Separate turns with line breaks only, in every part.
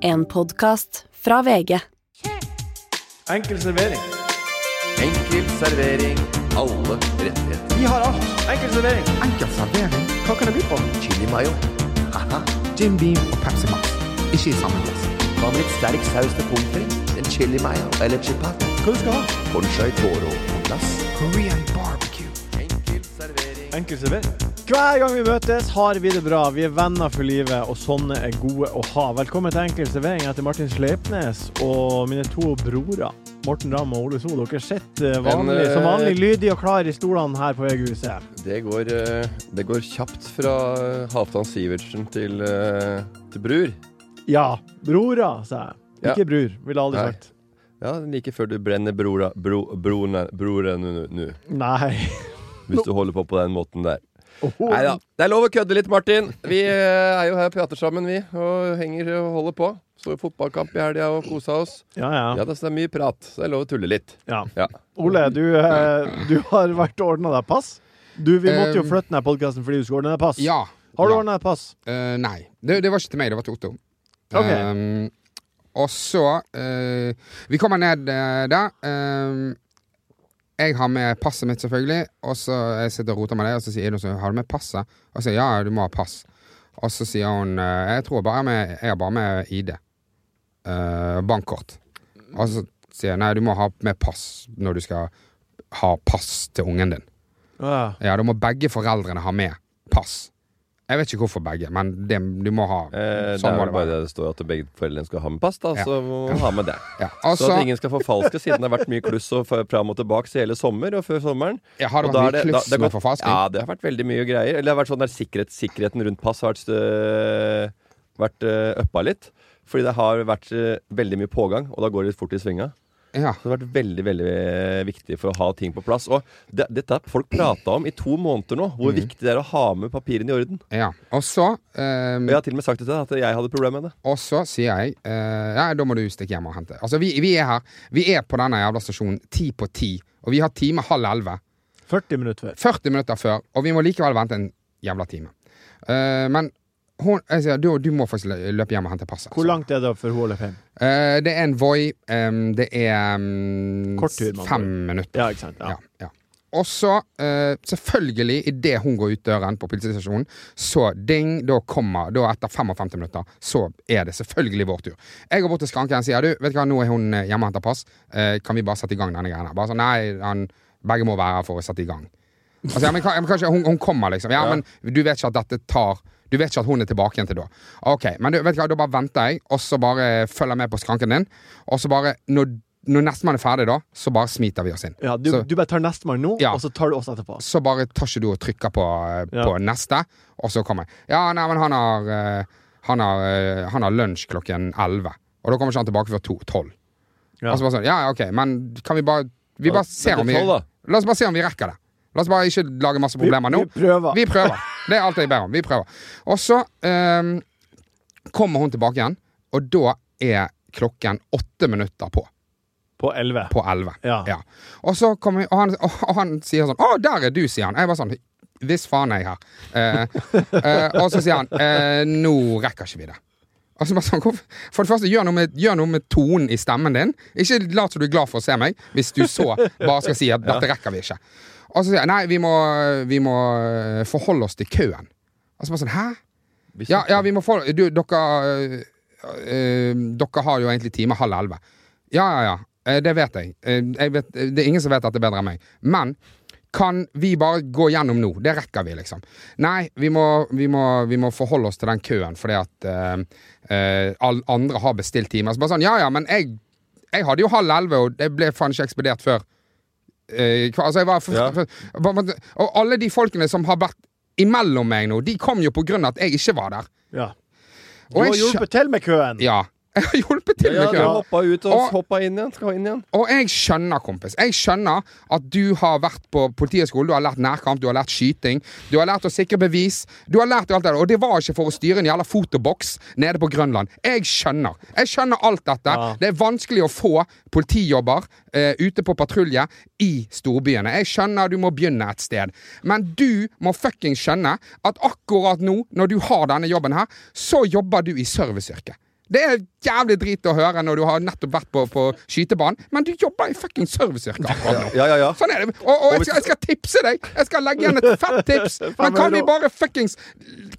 En podkast fra VG.
Enkel servering.
Enkel servering. Alle rettigheter.
Vi har alt. Enkel servering.
Enkel servering.
Hva kan det by på?
Chili mayo. Haha.
Jim Beam og Pepsi Max. Ikke i samme glass.
Hva med litt sterk saus til pommes frites? En chili mayo eller chipat?
Hva du skal ha?
Conchai toro på glass.
Korean barbecue.
Enkel servering.
Enkel servering. Hver gang vi møtes, har vi det bra. Vi er venner for livet, og sånne er gode å ha. Velkommen til Enkel servering. Jeg heter Martin Sleipnes og mine to brorer. Morten Ramm og Ole So. Dere sitter vanlig,
Men, eh,
som vanlig lydig og klar i stolene her på VG-huset.
Det går, eh, det går kjapt fra eh, Halvdan Sivertsen til, eh, til Brur.
Ja. Brorer, sa jeg.
Ja.
Ikke bror, ville jeg aldri
Nei.
sagt.
Ja, like før du brenner brora, bro, broren, broren nå, nå.
Nei.
Hvis du holder på på den måten der. Nei da. Det er lov å kødde litt, Martin. Vi eh, er jo her og prater sammen, vi. Og henger og holder på. Så fotballkamp i helga og kosa oss.
Ja, ja.
Ja, det er mye prat, så det er lov å tulle litt.
ja.
Ja.
Ole, du, eh, du har vært og ordna deg pass. Du, Vi måtte jo
Eh,
flytte denne podkasten fordi du skulle ordne deg pass.
Ja.
Har du
ja.
ordna deg pass?
Eh, nei. Det, det var ikke til meg, det var til Otto.
Ok.
Ehm, og så eh, Vi kommer ned eh, der. Ehm, jeg har med passet mitt, selvfølgelig. Og så jeg sitter og roter med det, og så sier hun så, har du med passet. Og så sier jeg, ja, du må ha pass. Og så sier hun eh, jeg tror bare med, jeg har bare med ID. Eh, bankkort. Og så sier jeg nei, du må ha med pass når du skal ha pass til ungen din.
Ja.
Ja, da må begge foreldrene ha med pass. Jeg vet ikke hvorfor begge, men det, du må ha
Eh, det
Sånn
er vel bare
var det bare.
det det står at begge foreldrene skal ha med pass, da.
Ja.
Så må man ha med det.
ja.
så
Altså,
at ingen skal forfalske, siden det har vært mye kluss og f- fram og tilbake i hele sommer og før sommeren.
ja, har det
Og da er
vært mye
det- da-
kluss
det har
med
gått-
forfalskning?
Ja, det har vært veldig mye greier. Eller det har vært sånn der sikkerhet, sikkerheten rundt pass har vært, øh, vært øh, uppa litt. Fordi det har vært øh, veldig mye pågang, og da går det litt fort i svinga.
Ja.
Så det har vært veldig veldig eh, viktig for å ha ting på plass. Og det, dette har folk prata om i to måneder nå,
Mhm.
hvor viktig det er å ha med papirene i orden.
ja. Og så ehm,
Og jeg har til og med sagt det til deg, at jeg hadde problemer med det.
Og så sier jeg eh, Nei, da må du stikke hjem og hente. Altså, vi, vi er her. Vi er på denne jævla stasjonen ti på ti, og vi har time halv elleve.
40 minutter før.
40 minutter før, og vi må likevel vente en jævla time. Eh, men hun, jeg sier, du, du må faktisk lø- løpe hjem og hente passet. altså.
Hvor langt er det før hun løper hjem?
Eh, det er en Voi. ehm, det er ehm,
Kort tur, man
fem
bør.
minutter.
Ja, ikke sant? Ja.
Ja, ja. Og så, eh, selvfølgelig, idet hun går ut døren på politistasjonen, så ding, da kommer Da etter 55 minutter, så er det selvfølgelig vår tur. Jeg går bort til skranken og sier du, vet du hva, nå er hun eh, hjemme og henter pass, eh, kan vi bare sette i gang denne greia her? Bare sånn, nei, han, begge må være her for å sette i gang. Altså, ja, men, ka- ja, men kanskje hun, hun kommer, liksom. Ja, men du vet ikke at dette tar Du vet ikke at hun er tilbake igjen til da. Ok, men du, vet du hva, da bare venter jeg, og så bare følger jeg med på skranken din, og så bare Når, når nestemann er ferdig, da, så bare smiter vi oss inn.
Ja, du,
Så-
du bare tar nestemann nå,
Ja.
og så tar du oss etterpå.
så bare tar ikke du og trykker på, eh,
Ja.
på neste, og så kommer jeg. Ja, nei, men han har, eh, han har, eh, han har lunsj klokken 11, og da kommer ikke han tilbake før to- 12.
Ja.
Og så bare sånn, ja, ja, ok, men kan vi bare, vi
Ja,
bare ser
men
om vi,
til 12 da.
la oss bare se om vi rekker det. La oss bare ikke lage masse problemer nå.
vi prøver.
Vi prøver. Det er alt jeg ber om. Vi prøver. Og så ehm, kommer hun tilbake igjen, og da er klokken åtte minutter på
På 11.
på 11.
Ja.
Og så kommer og han, og, han sier sånn 'Å, der er du', sier han. Jeg var sånn Hvis faen er jeg her. Eh, eh, og så sier han eh, 'Nå rekker ikke vi det'. Og så bare sånn, hvorfor- for det første, gjør noe, med, gjør noe med tonen i stemmen din. Ikke lat som du er glad for å se meg, hvis du så bare skal si at 'dette rekker vi ikke'. Og så sier han nei, vi må, vi må eh, forholde oss til køen. Og så bare sånn, hæ?
Hvis
Ja, ja, vi må få du, Dere øh, øh, Dere har jo egentlig time halv elleve. Ja, ja, ja. eh, Det vet jeg. Eh, jeg vet, eh, det er ingen som vet dette bedre enn meg. Men kan vi bare gå gjennom nå? Det rekker vi, liksom. Nei, vi må, vi må, vi må forholde oss til den køen, fordi at eh, eh, alle andre har bestilt timer. Så bare sånn, ja ja, men jeg, jeg hadde jo halv elleve, og det ble faen ikke ekspedert før eh, kva- altså jeg var for,
Ja.
for, på en måte- Og alle de folkene som har vært imellom meg nå, de kom jo på grunn av at jeg ikke var der.
Ja. Du
Og
har
jeg skjø-
hjulpet til med køen!
Ja. Jeg har hjulpet til
ja,
med
du
køen.
hoppa ut og
Og-
hoppa inn igjen. Skal inn igjen.
Og jeg skjønner, kompis. Jeg skjønner at du har vært på politihøgskolen, du har lært nærkamp, du har lært skyting, du har lært å sikre bevis. Du har lært alt det der, og det var ikke for å styre en jævla fotoboks nede på Grønland. Jeg skjønner. Jeg skjønner alt dette.
Ja.
Det er vanskelig å få politijobber eh, ute på patrulje i storbyene. Jeg skjønner du må begynne et sted, men du må fucking skjønne at akkurat nå, når du har denne jobben her, så jobber du i serviceyrket. Det er jævlig drit å høre når du har nettopp vært på, på skytebanen, men du jobber i fucking serviceyrket akkurat nå.
Ja, ja, ja.
Sånn er det. Og, og jeg, skal, jeg skal tipse deg! Jeg skal legge igjen et fett tips. Men kan vi bare fuckings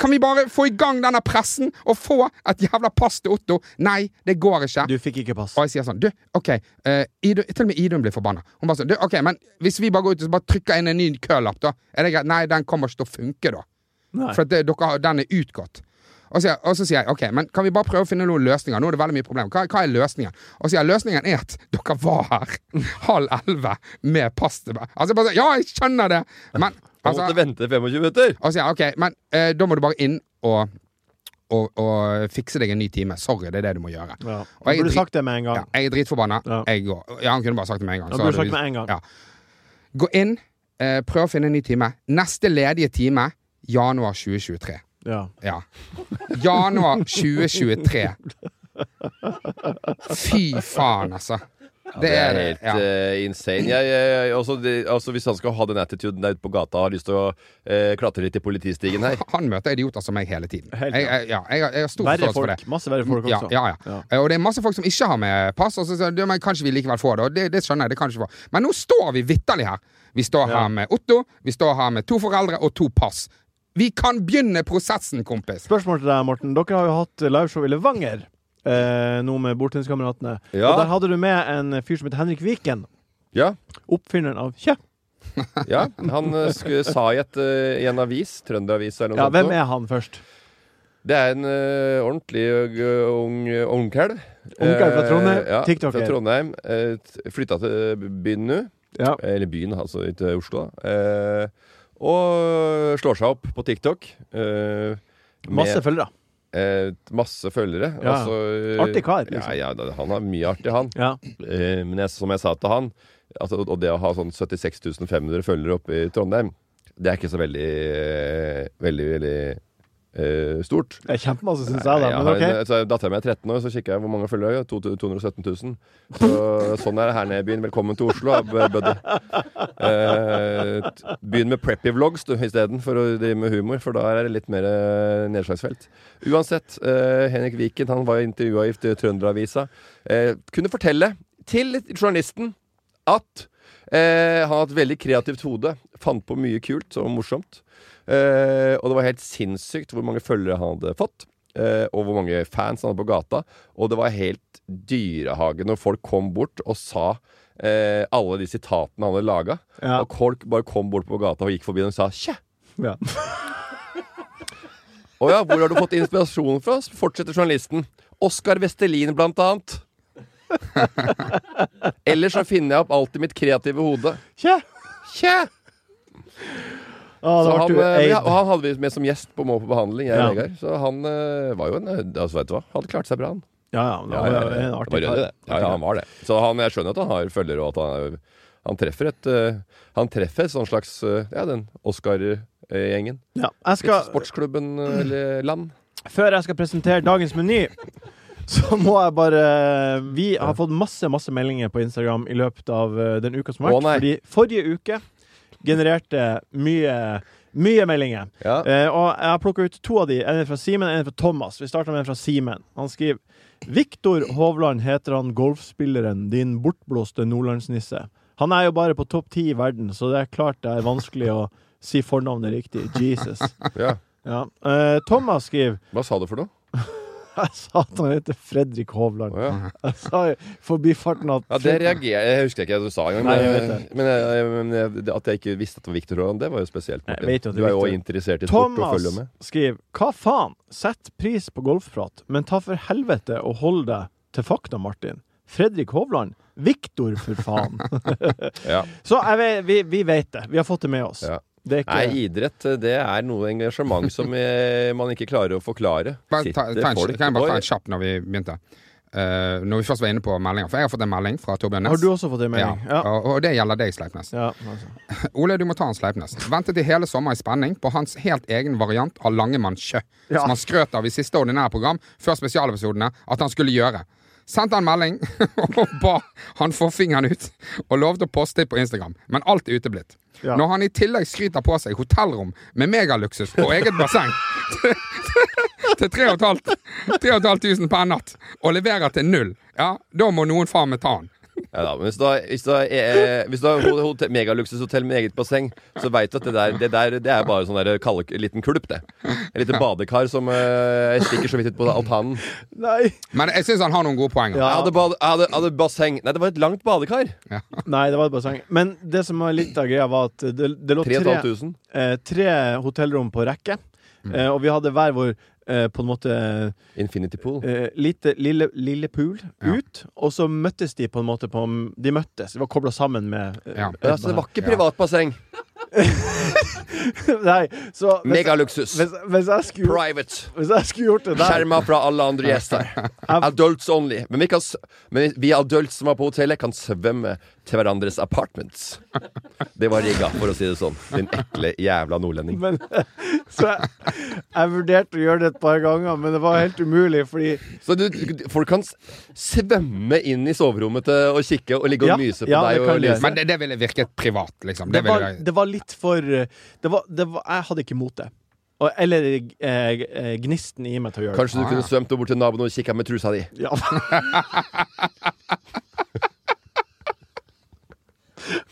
Kan vi bare få i gang denne pressen og få et jævla pass til Otto? Nei, det går ikke.
Du fikk ikke pass.
Og jeg sier sånn Du, OK. eh, Idun, til og med Idun blir forbanna. Hun bare sånn Du, OK, men hvis vi bare går ut og så bare trykker inn en ny kølapp, da? Er det greit? Nei, den kommer ikke til å funke, da.
Nei.
For at det, dere, har- den er utgått. Og så, og så sier jeg OK, men kan vi bare prøve å finne noen løsninger? Nå er det veldig mye problemer. Hva, hva er løsningen? Og så sier jeg løsningen er at dere var her halv elleve med pass til meg. Altså, bare, sånn, ja, jeg skjønner det,
Han
men altså,
måtte vente 25 minutter.
og så sier jeg OK, men eh, da må du bare inn og, og, og fikse deg en ny time. Sorry, det er det du må gjøre.
Ja.
Og jeg
Du burde
dri-
sagt det med en gang.
Ja, jeg er dritforbanna.
Ja.
Jeg går. Ja, han kunne bare sagt det med en gang.
Han
så
burde sagt
hadde vi-
med en gang.
Ja. Gå inn, eh, prøv å finne en ny time. Neste ledige time januar 2023.
Ja.
Ja. Januar 2023. Fy faen, altså. Det er det.
helt
Ja.
eh, insane. Jeg, jeg, jeg, også, det, altså, hvis han skal ha den attituden der ute på gata og har lyst til å eh, klatre litt i politistigen her
Han møter idioter som meg hele tiden.
eh, Helt
Jeg, jeg, ja, jeg, har- jeg har stor
Verre
forståelse for det.
folk. Masse verre folk
Ja,
også.
ja, ja.
Ja.
Eh, Og det er masse folk som ikke har med pass. Og så, sier de, men kanskje vi likevel får det. Og det, det skjønner jeg. det kan vi ikke få. Men nå står vi vitterlig her. Vi står
Ja.
her med Otto, vi står her med to foreldre og to pass. Vi kan begynne prosessen, kompis!
Spørsmål til deg, Morten. Dere har jo hatt liveshow i Levanger. Eh, nå med Bordtenniskameratene.
Ja.
Og der hadde du med en fyr som het Henrik Viken.
Ja,
Oppfinneren av Kjø.
ja. Han eh, sk- sa i, et, eh, i en avis, Trønderavisa eller noe
Ja,
sånt.
hvem
nå.
er han først?
Det er en eh, ordentlig eh, ung eh, ungkæl.
Ungkæl fra
Eh,
Trondheim,
ja,
TikToker.
Fra Trondheim. eh, t- flytta til byen nå.
Ja.
Eller byen, altså ikke Oslo. da. Eh, og slår seg opp på TikTok. eh, med-
Masse følgere.
Eh, masse følgere.
Ja.
Altså, eh,
Artig kar, liksom.
Ja, ja, da- han er mye artig, han.
Ja.
Eh, men jeg, som jeg sa til han, altså, og det å ha sånn 76 500 følgere oppe i Trondheim, det er ikke så veldig eh, Veldig, veldig eh, stort.
Det er kjempemasse, syns jeg, da.
Jeg
Men
har
OK.
en- altså, Dattera mi er 13 år, så kikker jeg hvor mange følgere jeg har. To- 217 000. Så, sånn er det her nede i byen. Velkommen til Oslo, da, b- buddy. Eh, t- begynn med preppy vlogs du, isteden, for å drive med humor, for da er det litt mer eh, nedslagsfelt. Uansett, eh, Henrik Viken han var intervjua i Trønderavisa. Eh, kunne fortelle til journalisten at eh, han har et veldig kreativt hode. Fant på mye kult og morsomt. Eh, og det var helt sinnssykt hvor mange følgere han hadde fått. Eh, og hvor mange fans han hadde på gata. Og det var helt dyrehage når folk kom bort og sa eh, alle de sitatene han hadde laga.
Ja.
Og folk bare kom bort på gata og gikk forbi og sa 'kjæ'.
Ja.
Å ja, hvor har du fått inspirasjonen fra? Fortsetter journalisten. Oskar Vestelin, blant annet. Ellers så finner jeg opp alt i mitt kreative hode.
Kjø!
Kjæ!
Å,
Så
da
han,
ble du
eh, vi- og
eid.
han hadde vi med som gjest på Må på behandling, jeg
Ja.
og Vegard. Så han eh, var jo en eh, altså, Vet du hva, han klarte seg bra, han.
Ja, ja. men Han var en
Det
artig
var rød i
kar.
det. Ja, ja, han var det. Så han, jeg skjønner at han har følgere, og at han, er- han treffer et eh, Han treffer et sånn slags eh, Ja, den Oscar-gjengen.
Ja. Jeg
Litt
skal
sportsklubben eh, eller land.
Før jeg skal presentere dagens meny, så må jeg bare Vi har fått masse masse meldinger på Instagram i løpet av eh, den uka som har
Å, nei.
vært. Fordi forrige uke genererte mye mye meldinger.
Ja.
Eh, og jeg har plukka ut to av de. En er fra Simen, en er fra Thomas. Vi starter med en fra Simen. Han skriver Viktor Hovland heter han golfspilleren, din bortblåste nordlandsnisse. Han er jo bare på topp ti i verden, så det er klart det er vanskelig å si fornavnet riktig. Jesus.
ja.
Ja. Eh, Thomas skriver
Hva sa du for noe?
jeg sa at han heter Fredrik Hovland.
Å, ja.
Jeg sa i forbifarten at
Ja, det reagerer Jeg husker ikke hva du sa engang.
Nei,
Men,
jeg vet
men, jeg- men jeg- det at jeg ikke visste at det var Victor Roland, det var jo spesielt. Martin.
Jeg vet jo at det
du er jo
er
også
Victor.
interessert i sport og
Thomas
følger med.
skriver Hva faen? Sett pris på golfprat, men ta for helvete og hold deg til fakta, Martin. Fredrik Hovland. Viktor, for faen.
Ja.
Så jeg vet, vi, vi vet det. Vi har fått det med oss.
Ja.
Det er ikke
Nei, idrett eh, det er noe engasjement som eh, man ikke klarer å forklare.
Bare ta,
Sitter
ta en,
folk
kan jeg bare ta
og-
en kjapp når vi begynte? Eh, når vi først var inne på meldinger. For jeg har fått en melding fra Torbjørn Næss.
Har du også fått det med
ja.
deg? Ja.
Og, og det gjelder deg, Sleipnes.
Ja, altså.
Ole, du må ta en Sleipnes. Ventet i hele sommer i spenning på hans helt egen variant av Langemann Kjø,
Ja.
som han skrøt av i siste ordinære program før spesialepisodene at han skulle gjøre. Sendte han melding og ba han få fingeren ut, og lovte å poste på Instagram, men alt er uteblitt.
Ja.
Når han i tillegg skryter på seg hotellrom med megaluksus og eget basseng til 3500 per natt og leverer til null, ja, da må noen faen meg ta den.
Ja, da, men hvis du har, hvis du har, eh, hvis du har ho- hotel- megaluksushotell med eget basseng, så veit du at det der, det der det er bare sånn der kalde, liten kulp, det. En liten badekar som eh, stikker så vidt ut på altanen.
Nei.
Men jeg syns han har noen gode poenger.
Jeg hadde, bad, jeg hadde, jeg hadde basseng Nei, det var et langt badekar.
Nei, det var et basseng. Men det som var litt av greia, var at det, det lå tre,
3500.
eh, tre hotellrom på rekke. Eh, og vi hadde hver vår eh, på en måte
Infinity pool.
eh, lite, lille, lille pool
Ja.
ut, og så møttes de på en måte på De møttes. De var kobla sammen med eh,
Ja.
Ja, så altså, det var ikke privat basseng.
Nei, så hvis,
Megaluksus.
hvis, hvis, jeg skulle,
Private.
hvis jeg skulle gjort det der
Skjerma fra alle andre gjester. Adults only. Men vi, kan, s- men vi adults som er på hotellet, kan svømme til hverandres apartments. Det var rigga, for å si det sånn. Din ekle jævla nordlending.
men, Så jeg, jeg vurderte å gjøre det et par ganger, men det var helt umulig, fordi
Så du, folk kan s- svømme inn i soverommet til å kikke og ligge og
Ja,
myse på
ja, det
deg.
kan
Og
de
lyse.
gjøre.
Men det, det ville virket privat, liksom.
det
Det
var,
ville jeg,
det var litt for eh, det var, det var, Jeg hadde ikke mot det. Og, eller eh, eh, gnisten i meg til å gjøre
Kanskje du kunne svømt bort til naboen og kikka med trusa di.
det. Ja.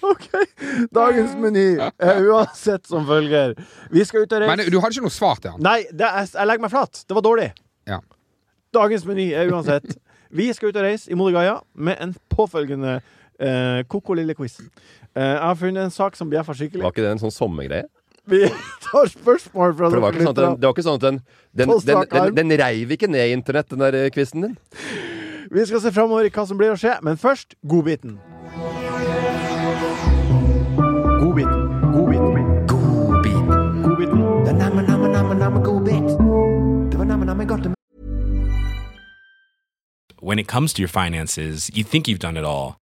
OK. Dagens meny er uansett som følger. Vi skal ut og
men
reise
du hadde ikke noe svar til han?
Nei, det er, jeg legger meg flat. Det var dårlig.
Ja.
Dagens meny er uansett Vi skal ut og reise i Modigaya med en påfølgende eh, koko lille quiz. Eh, jeg har funnet en sak som bjeffer skikkelig.
Var ikke det en sånn sommergreie?
Vi tar spørsmål fra
For det var ikke
dere
sånn at den,
lyttere.
det var ikke sånn at den, den,
På
den,
strak
den,
arm.
den reiv ikke ned i internett, den der eh, quizen din.
Vi skal se framover i hva som blir å skje, men først godbiten. Godbiten. Godbiten. Godbiten.
When it comes to your finances, you think you've done it all.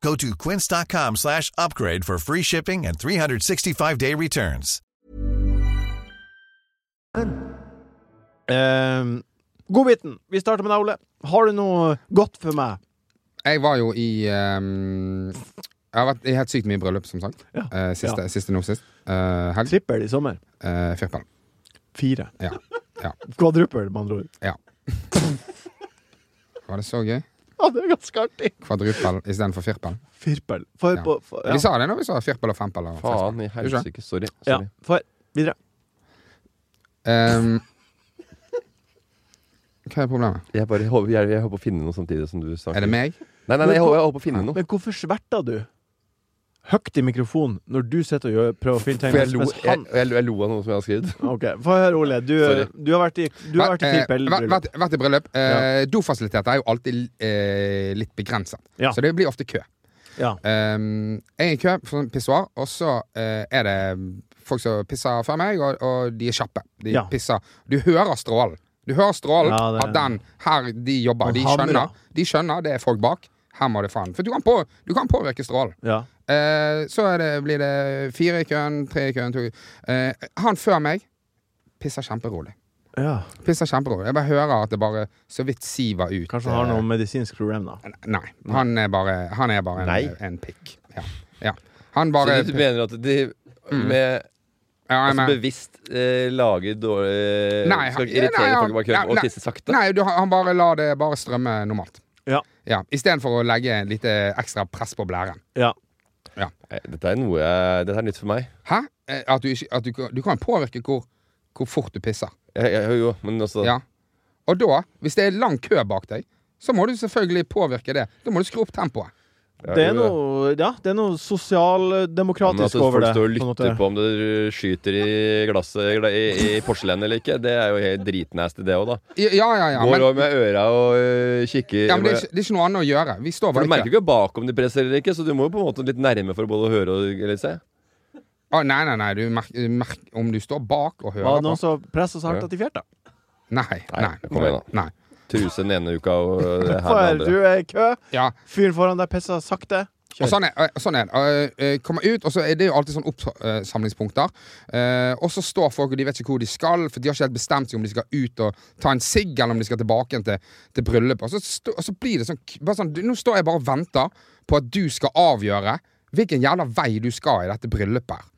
Go to quince.com slash upgrade for free shipping and 365-day returns.
Ehm, godbiten. Vi starter med deg, Ole. Har du noe godt for meg?
Jeg var jo i ehm, Jeg har vært i helt sykt mye bryllup, som sagt.
Ja.
Eh, siste, siste nå sist. Eh, helg.
Trippel i sommer.
Uh, Firpall.
Fire.
Ja. Ja.
Kvadruppel, med andre ord.
ja. Var det så gøy?
Ja, det er ganske artig.
Kvadrupel istedenfor firpall.
Firpel. For
Ja.
på for,
Vi sa det når vi sa firpall og fempall. og sekspall.
Faen i
Gjorde vi ikke det?
helsike. Sorry.
ja,
Sorry.
for. Videre.
Ehm, hva er problemet?
Jeg bare håper, jeg, jeg håper å finne noe samtidig som du snakker.
Er det meg?
Nei, nei, nei jeg, håper, jeg håper å finne noe.
Men hvorfor sverta du høyt i mikrofonen når du sitter og gjør, prøver å finne tegn?
For jeg lo,
mens
jeg,
han-
jeg, lo- jeg lo av noe som jeg har skrevet.
Ok, Få høre, Ole. Du,
Sorry.
du har vært i, du har vært i
Eh,
firpel.
vært- vært- vært i bryllup. Eh, Dofasiliteter er jo alltid eh, litt begrenset,
Ja.
så det blir ofte kø.
Ja.
Ehm, jeg er i kø for en pissoar, og så eh, er det folk som pisser før meg, og, og de er kjappe. De
Ja.
pisser. Du hører strålen. Du hører strålen
Ja, det-
av den her de jobber.
Og
De
hamrer.
skjønner, de skjønner det er folk bak. Her må det faen. For du kan, på, du kan påvirke strålen.
ja.
Eh, så er det, blir det fire i køen, tre i køen, to i eh, Han før meg pisser kjemperolig.
ja.
Pisser kjemperolig. Jeg bare hører at det bare så vidt siver ut.
Kanskje han har
eh,
noe medisinsk problem, da.
Nei. Han er bare, han er bare
Nei.
en, en pikk. Ja. ja. Han
Så
bare Mm.
du mener at de med
ja, jeg
altså,
mener-
bevisst eh, lager dårlig
Nei, han-
Skal irritere
nei, han-
folk bak
nei,
køen og
nei.
tisse sakte?
Nei, du, han bare lar det bare strømme normalt.
Ja.
Ja, Istedenfor å legge en lite ekstra press på blæren.
ja.
Nei, Dette er noe jeg, Dette er nytt for meg.
Hæ? Eh, At du, ikke, at du, du kan påvirke hvor, hvor fort du pisser.
Jeg, jeg, jo, jo, men altså
Ja. Og da, hvis det er lang kø bak deg, så må du selvfølgelig påvirke det. Da må du skru opp tempoet.
Ja,
Det er
jo,
noe, ja, det er noe
Ja, men at
sosialdemokratisk over
folk
det.
står
på
og
en måte.
lytter på om du skyter i glasset gla- i, i porselenet eller ikke, det er jo helt dritnasty, det òg, da.
Ja, ja, ja. ja,
Går
men,
over med øra og øh, kikker
ja men det, er ikke, det er ikke noe annet å gjøre. Vi
For
står
Du
bare
merker
ikke.
jo ikke bak om de presser eller ikke, så du må jo på en måte litt nærme for å både høre og eller se.
Å, nei, nei, nei. Du merk, merk, om du står bak og
Var
hører
det noen
på.
som pressa så hardt at de fjerta?
Nei, nei.
kom igjen da.
nei.
Truse den ene uka og øh, det her
For
den
du
andre.
er i kø,
Ja,
fyren foran deg pisser sakte.
Og sånn er, og sånn er det. Og, eh, Kommer ut, og så er det jo alltid sånn oppsamlingspunkter. Eh, Og så står folk, og de vet ikke hvor de skal, for de har ikke helt bestemt seg om de skal ut og ta en sigg, eller om de skal tilbake igjen til, til bryllupet. Og så, stå, og så blir det sånn, k- bare sånn du- Nå står jeg bare og venter på at du skal avgjøre hvilken jævla vei du skal i dette bryllupet her.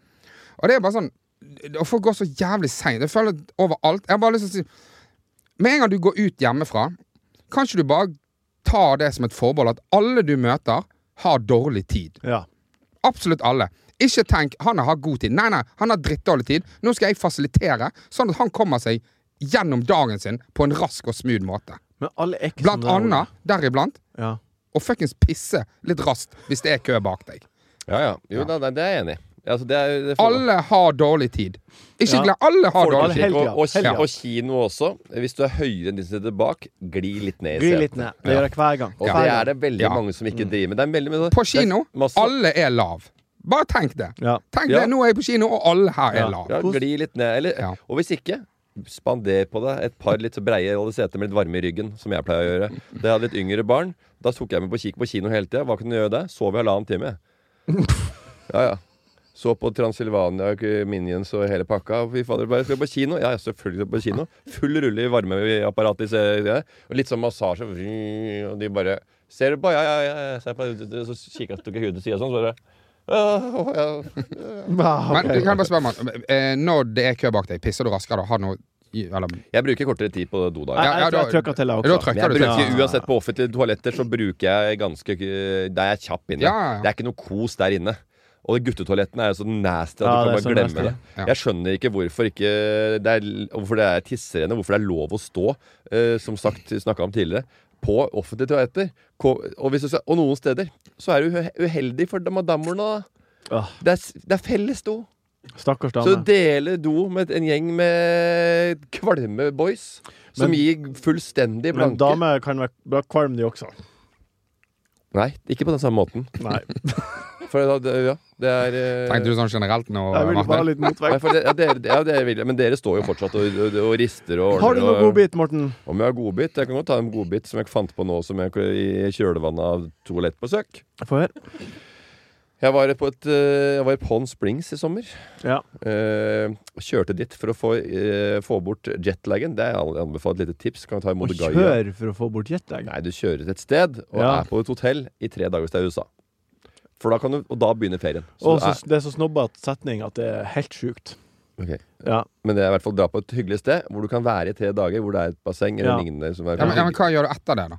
Og det er bare sånn Og folk går så jævlig seint. Jeg føler at overalt Jeg har bare lyst til å si Med en gang du går ut hjemmefra, kan ikke du bare ta det som et forbehold at alle du møter, har dårlig tid.
Ja.
Absolutt alle. Ikke tenk 'han har god tid'. Nei, nei, han har drittdårlig tid. Nå skal jeg fasilitere, sånn at han kommer seg gjennom dagen sin på en rask og smooth måte.
Men alle er ikke
Blant
sånn der,
annet,
Ole.
deriblant,
Ja.
å fuckings pisse litt raskt hvis det er kø bak deg.
Ja, ja. Jo, da, nei, det er jeg enig i. Altså, det er, det får-
Alle har dårlig tid. Ikke
Ja.
glem Alle har
Folk har
dårlig tid.
helga.
og, og, ki-
Helga.
og kino også. Hvis du er høyere enn de som sitter bak, gli litt ned i
Gli litt
setet.
ned. Det gjør jeg hver gang.
Og
Hver
det
gang.
er det veldig
Ja. Mm.
mange som ikke driver med. Det er veldig mye
På kino,
det er masse-
alle er lav. Bare tenk det.
Ja.
Tenk
Ja.
det, Nå er jeg på kino, og alle her
Ja.
er lav.
Ja, gli litt ned. Eller,
Ja.
Og hvis ikke, spander på deg et par litt så breie alle seter med litt varme i ryggen, som jeg pleier å gjøre. Da jeg hadde litt yngre barn, da tok jeg meg på kikk på kino hele tida. Hva kunne jeg gjøre der? Sov i halvannen time. Ja, ja. Så på Transylvania, Minions og hele pakka. Fy fader, bare skal vi på kino? Ja, ja, selvfølgelig skal vi på kino. Full rulle i varmeapparatet. i se- det. Og litt sånn massasje. Vri, Og de bare Ser du på? Ja, ja, ja. ja. Ser på, så kikker jeg, tok jeg hodet til sida sånn, så bare «Åh, ja.
Ah,
Men
ok.
du kan bare spørre meg eh, Når det er kø bak deg, pisser du raskere da? Har du noe i- eller,
Jeg bruker kortere tid på do da.
Jeg,
Ja, ja,
jeg, tror
da-
jeg trykka til deg
da
også.
trykker
Jeg
du til.
bruker Uansett på offentlige toaletter så bruker jeg ganske øh, Da er jeg kjapp inne.
Ja, ja, ja.
Det er ikke noe kos der inne. Og guttetoalettene er jo så nasty at
Ja, det
du kan
er
bare
så
glemme
nasty.
det.
Ja.
Jeg skjønner ikke hvorfor ikke det er, hvorfor det er tisserenne, hvorfor det er lov å stå, eh, som sagt snakka om tidligere, på offentlige toaletter. Ko- Og, hvis du skal- og noen steder så er du uhe- uheldig for madammerne, da.
Ah,
Det er, s- det er felles do.
Stakkars
Så du
dame.
deler do med en gjeng med kvalme boys som
Men-
gir fullstendig
Men
blanke.
damer kan være være kvalm, de også.
Nei, ikke på den samme måten.
Nei.
For da, det, ja, det er eh,
Tenkte du sånn generelt nå?
Jeg ville bare ha
Martin?
litt motvekt.
Nei, for det, ja, dere, ja, dere vil, men dere står jo fortsatt og, og, og rister og ordner.
Har du noe
og-
godbit, Morten?
Om jeg har godbit? Jeg kan godt ta en godbit som jeg fant på nå som jeg, i kjølvannet av toalettbesøk.
Få høre.
Jeg var på et eh, Jeg var i Pond Springs i sommer.
Ja.
Eh, kjørte dit for å få, eh, få bort jetlagen. Det er anbefalt et lite tips. Kan jeg ta
Og
imot Gaia.
kjør for å få bort jetlag.
Nei, du kjører til et sted og
Ja.
er på et hotell i tre dager hvis det er USA. For da kan du, og da begynner ferien.
Og
det er-
så, det er så snobbete setning at det er helt sjukt.
Ok.
Ja.
Men det er i hvert fall dra på et hyggelig sted hvor du kan være i tre dager, hvor det er et basseng
Ja.
eller lignende. Som er
Ja, men, ja, men hva gjør du etter det, da?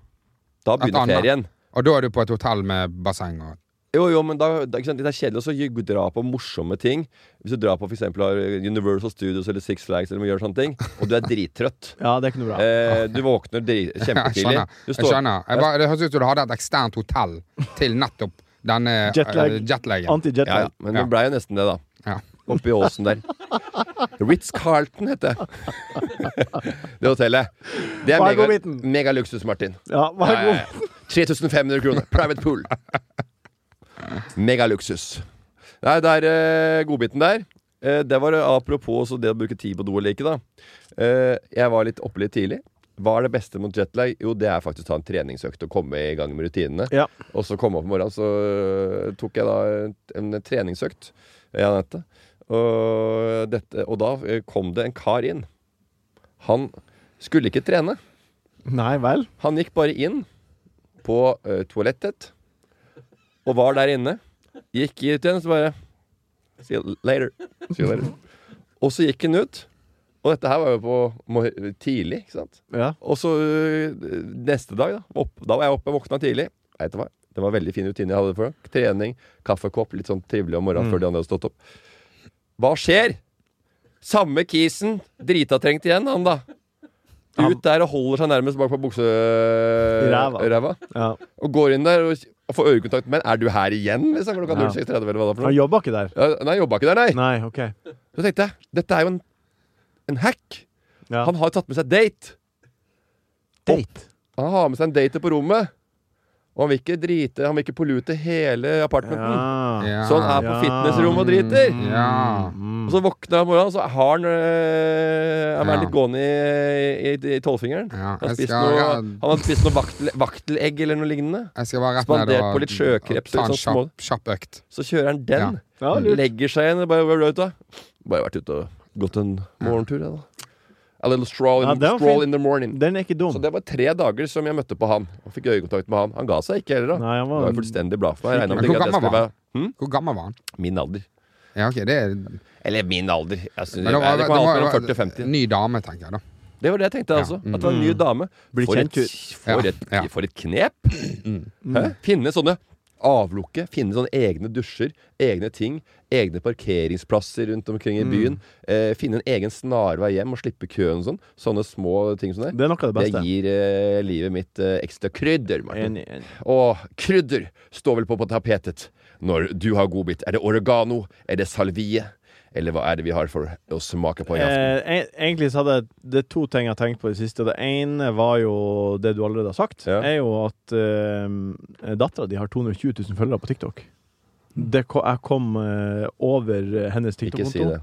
da
et
begynner
annet.
ferien.
Og da er du på et hotell med basseng og
Jo, jo, men da, da, ikke sant? Det er kjedelig å så gj- dra på morsomme ting. Hvis du drar på for eksempel, har Universal Studios eller Six Flags eller gjør sånne ting, og du er drittrøtt.
ja, det er ikke noe bra.
Eh, du våkner dri-
Ja, Jeg
kjempetidlig.
skjønner.
Du
Jeg
står-
skjønner. Jeg bare, det høres ut som du hadde et eksternt hotell til nettopp denne eh,
Jetlag.
jetlagen.
Ja, ja,
Anti-jetlag.
men
Ja.
det blei jo nesten det, da.
Ja.
Oppe i åsen der. Ritz-Carlton heter det. det hotellet. Det er
Hva er
mega,
godbiten?
mega luksus, Martin.
Ja, vær
Ja, ja,
god.
ja. 3500 kroner. Private pool. Megaluksus. Nei, det er eh, godbiten der. Eh, det var eh, apropos også det å bruke tid på do eller ikke, da. Eh, jeg var litt oppe litt tidlig. Hva er det beste mot jetlag? Jo, det er faktisk å ta en treningsøkt og komme i gang med rutinene.
Ja.
Og så kom jeg opp om morgenen, så øh, tok jeg da en, en treningsøkt. Ja, dette. Og, dette, og da øh, kom det en kar inn. Han skulle ikke trene.
Nei vel.
Han gikk bare inn på øh, toalettet og var der inne. Gikk ut igjen, så bare See you later. See you later. og så gikk han ut. Og dette her var jo på mor- tidlig, ikke sant?
Ja.
Og så øh, neste dag, da. Opp, da var jeg oppe, våkna tidlig. Jeg vet hva, det var veldig fin rutine jeg hadde for det. Trening, kaffekopp, litt sånn trivelig om
Mm.
morgenen før de andre hadde stått opp. Hva skjer? Samme kisen, drita trengt igjen, han da. Ut der og holder seg nærmest bak på
Ræva.
bukseræva.
Ja.
Og går inn der og og får øyekontakt. Men er du her igjen? Liksom, klokka
Ja.
06.30 eller hva det er for
Han
noe?
jobba ikke der.
Ja, nei, jobba ikke der, nei.
Nei, OK.
Så tenkte jeg, dette er jo en, en hack.
Ja.
Han har tatt med seg date.
Date.
Han har med seg en date på rommet. Og han vil ikke drite, han vil ikke pollute hele apartmenten.
Ja.
Ja.
Så han Sånn er på
Ja.
fitnessrommet og driter.
Ja.
Mm.
Og så våkner han om morgenen, og så har han øh, Han er
Ja.
litt gående i, i, i tolvfingeren.
Ja,
han, har
jeg
spist
skal-
noe,
ja.
han har spist noe vaktel, vaktelegg eller noe lignende.
Jeg skal bare rett
Spandert
ned og,
på litt sjøkreps,
og ta en
litt sånn små-
kjapp, kjapp økt.
Så kjører han den.
Ja, lurt.
legger seg igjen og bare Hvor er du ute? Bare vært ute og gått en morgentur, jeg, da. A little stroll in,
Ja, det var
stroll
fint.
in the morning.
Den er ikke dum.
Så det var tre dager som jeg møtte på han. Og fikk øyekontakt med han. Han ga seg ikke heller, da.
Nei, han
Det
var,
var jo fullstendig blad for meg. Jeg regnet
Men
med
hvor
at jeg
gammel
skulle
var
være hm?
Hvor gammel var han?
min alder.
Ja, ok, det er
Eller min alder. Jeg synes,
Men
jeg,
det var-
det kan
det
være
var-
mellom 40 og 50.
Ny dame, tenker jeg da.
Det var det jeg tenkte, altså. At det var en ny dame.
Mm. Blir
for,
kjent
et, for,
Ja,
et,
ja. Mm.
for et knep! Hæ? Finne sånne avlukke, finne sånne egne dusjer, egne ting, egne parkeringsplasser rundt omkring
Mm.
i byen. Eh, finne en egen snarvei hjem og slippe køen og sånn. Sånne små ting som det.
det er noe av det
Det
beste.
gir eh, livet mitt eh, ekstra krydder, Martin.
Enig, enig.
Og krydder står vel på på tapetet når du har godbit. Er det oregano? Er det salvie? Eller hva er det vi har for å smake på i aften?
Eh, e- egentlig så hadde jeg det er to ting jeg har tenkt på i det siste. Det ene var jo det du allerede har sagt,
Ja.
er jo at eh, dattera di har 220 000 følgere på TikTok. Det, ko- jeg kom eh, over eh, hennes
Ikke si
TikTok-konto.
det.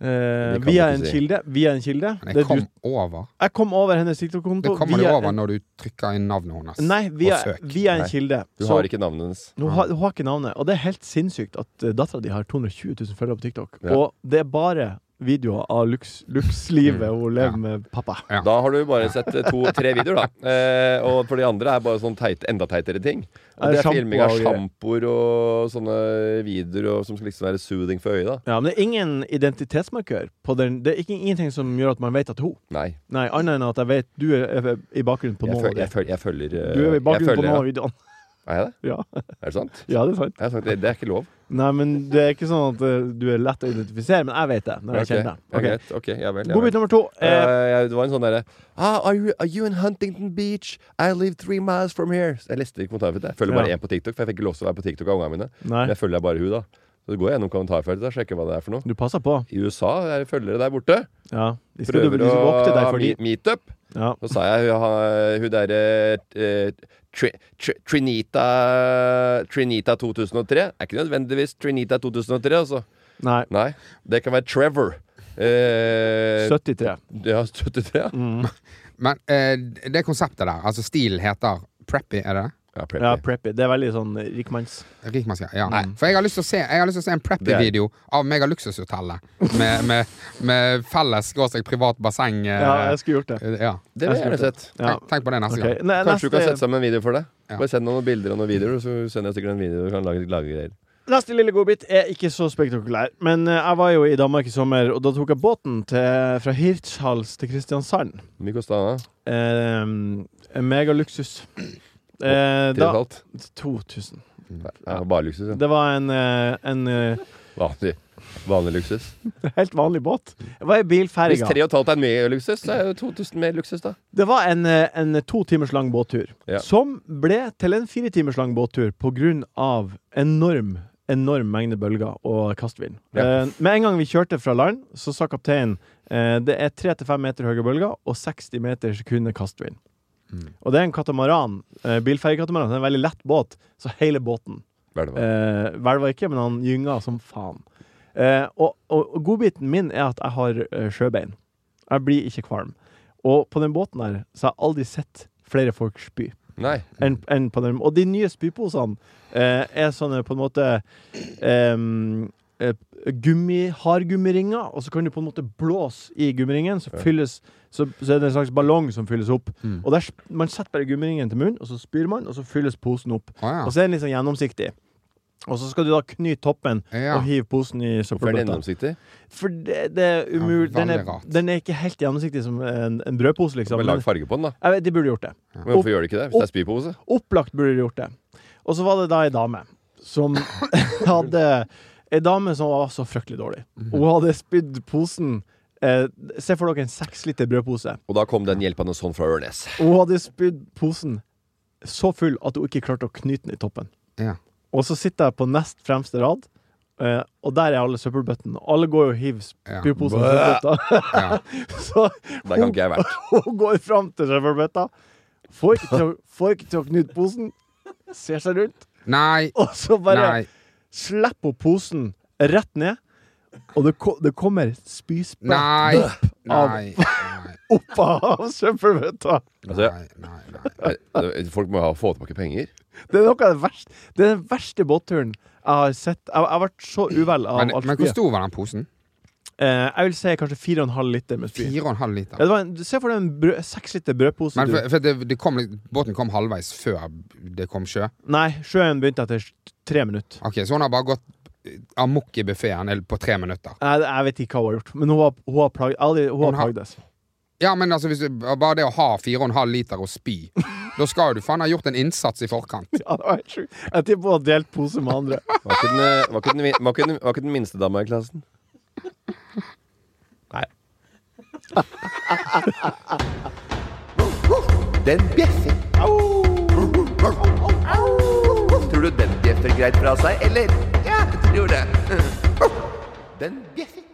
Eh,
Det kan
via
du ikke
en
si.
kilde. Via en kilde.
Men
Det
jeg
du-
kom over.
jeg kom over hennes
Det
TikTok-konto.
kommer du
via
over
en-
når du trykker inn navnet hennes.
Nei, via,
og søk.
via en
Nei.
kilde.
Du
Så-
har ikke navnet hennes.
Hun har, hun har ikke navnet, og det er helt sinnssykt at uh, dattera di har 220 000 følgere på TikTok.
Ja.
Og det er bare videoer av lux- lux-livet
Mm.
hun lever
Ja.
med pappa.
Ja.
Da har du bare sett to-tre videoer, da. Eh, og for de andre er bare sånn teit, enda teitere ting. Og
Er
det er
sjampo
filming av
og greier.
sjampoer og sånne videoer og, som skal liksom være soothing for øyet, da.
Ja, men det er ingen identitetsmarkør. På den. Det er ikke, ingenting som gjør at man vet at hun
Nei.
Nei, annet enn at jeg vet du er er i bakgrunnen på
Jeg,
noen
føl,
av dem.
jeg, føl, jeg følger eh,
Du er i
jeg
bakgrunnen på
følger,
noen av
ja.
videoene.
Er jeg det?
Ja.
Er det sant?
ja, det er sant.
Jeg har sagt, det, det er ikke lov.
Nei, men det er ikke sånn at uh, du er lett å identifisere, men jeg vet det når jeg
Ok,
kjenner
ja,
deg. Ok.
greit. Ok, ja vel. Ja,
Godbit
vel.
nummer to. Eh,
Eh, jeg- det var en sånn derre ah, are, you- are you in Huntington Beach? I live three miles from here. Så Jeg leste ikke kommentarfeltet. Jeg følger bare
Ja.
én på TikTok, for jeg fikk ikke lov til å være på TikTok av ungene mine.
nei,
Men jeg følger bare hun, da. Så går jeg gjennom kommentarfeltet og sjekker hva det er for noe.
du passer på.
I USA er det følgere der borte.
Ja. De skal,
Prøver
du, liksom du skal vokte deg
å
for de.
meet- meetup.
Ja.
Så sa jeg hun, har- hun derre eh, Tri, Tri, Trinita Trinita 2003. Er ikke nødvendigvis Trinita 2003, altså.
Nei.
Nei. Det kan være Trevor. Eh,
73.
ja, 73. ja.
Mm.
Men eh, det konseptet der, altså stilen heter preppy, er det det?
Ja, preppy.
Ja, preppy. Det er veldig sånn rikmanns...
Rikmannsgreie. Ja. For jeg har lyst til å se, jeg har lyst til å se en preppy-video av meg og luksushotellet med, med, med felles skråstrek privat basseng. eh,
Ja, jeg skulle gjort det.
eh, ja.
det vil jeg gjerne sett.
Ja.
Tenk, tenk på det neste
Ok.
gang.
Ne-
Sånn. Kanskje du kan sette
Neste,
sammen en video for det?
Ja.
Bare send noen bilder og noen videoer, så sender jeg sikkert en video. Du kan lage, lage greier.
neste lille godbit er ikke så spektakulær, men eh, jeg var jo i Danmark i sommer, og da tok jeg båten til, fra Hirtshals til Kristiansand.
Hvor Mye kosta det?
Eh, Megaluksus. Eh,
Tre og et
da
halvt?
2000.
Ja, bare luksus. Ja.
Det var en, eh, en eh,
Vanlig, vanlig luksus.
helt vanlig båt. Det var ei
Hvis
bilferge.
tre og et halvt er mye luksus, så er det jo 2000 mer luksus, da.
Det var en, eh, en to timers lang båttur,
Ja.
som ble til en fire timers lang båttur pga. enorm enorm mengde bølger og kastvind.
Ja.
Eh, med en gang vi kjørte fra land, så sa kapteinen eh, det er 3-5 meter høye bølger og 60 meter i sekundet kastvind.
Mm.
Og det er en katamaran, eh, bilferjekatamaran. Det er En veldig lett båt, så hele båten
Hva er det?
eh, hvelva ikke, men han gynga som faen. Eh, og, og, og godbiten min er at jeg har eh, sjøbein. Jeg blir ikke kvalm. Og på den båten her så har jeg aldri sett flere folk spy.
Nei.
Enn, enn på den. Og de nye spyposene eh, er sånne på en måte em, eh, gummi, Hardgummiringer, og så kan du på en måte blåse i gummiringen, så, fylles, så, så er det en slags ballong som fylles opp. Og der, sp- Man setter bare gummiringen til munnen, og så spyr man, og så fylles posen opp.
Å, ja.
Og så er den liksom gjennomsiktig. Og så skal du da knyte toppen
Ja.
og hive posen i
Hvorfor er den
søppelbøtta.
gjennomsiktig?
For det, det er umulig
Ja,
den,
veldig
er,
rart.
den er ikke helt gjennomsiktig som en, en brødpose, liksom.
Men
Men
lag farge på den, da.
jeg vet, de burde gjort det.
Men hvorfor gjør de ikke det? Hvis det er spypose?
Opplagt burde de gjort det. Og så var det da ei dame som
Mhm.
hadde Ei dame som var så fryktelig dårlig. Hun hadde spydd posen Eh, se for dere en seks liter brødpose.
Og da kom den hjelpende sånn fra Ørnes.
Hun hadde spydd posen så full at hun ikke klarte å knyte den i toppen.
Ja.
Og så sitter jeg på nest fremste rad, eh, og der er alle søppelbøttene. Alle går jo og hiver
Ja.
spyposen i søppelbøtta.
Ja.
Så
Der kan ikke jeg vært.
hun går fram til søppelbøtta, får ikke til å, får ikke til å knyte posen, ser seg rundt,
Nei.
og så bare
Nei.
slipper hun posen rett ned. Og det, ko det kommer
Nei.
spyspratt
Nei. Nei.
opp av søppelbøtta.
Altså,
Nei. Nei.
Nei, eh, Folk må ha få tilbake penger.
Det er noe av det verste Det er den verste båtturen jeg har sett. Jeg, jeg har vært så uvel av
Men,
alt
men hvor
spyet.
stor var den posen?
Eh, jeg vil si kanskje 4,5 liter med spy.
Fire og en halv
Ja,
liter.
det var en, se for deg en brød, seks liter brødpose.
Men
du.
for, for det, det kom, litt- båten kom halvveis før det kom sjø.
Nei, sjøen begynte etter tre minutter.
Ok, Så hun har bare gått amok i buffeen på tre minutter.
Jeg, jeg vet ikke hva hun har gjort, men hun har, hun har, plag, aldri, hun
Hun
har
har-
plagdes.
Ja, men altså, hvis du, Bare det å ha fire og en halv liter og spy, da skal jo du faen ha gjort en innsats i forkant.
Ja, det var helt sjukt. Jeg tipper hun har delt pose med andre.
Var ikke den, eh, var ikke den, vi- var ikke den, var ikke den minste dama i klassen. Nei. Den bjeffer. Tror du den bjeffer greit fra seg, eller? Ja, jeg tror det. Den bjeffer.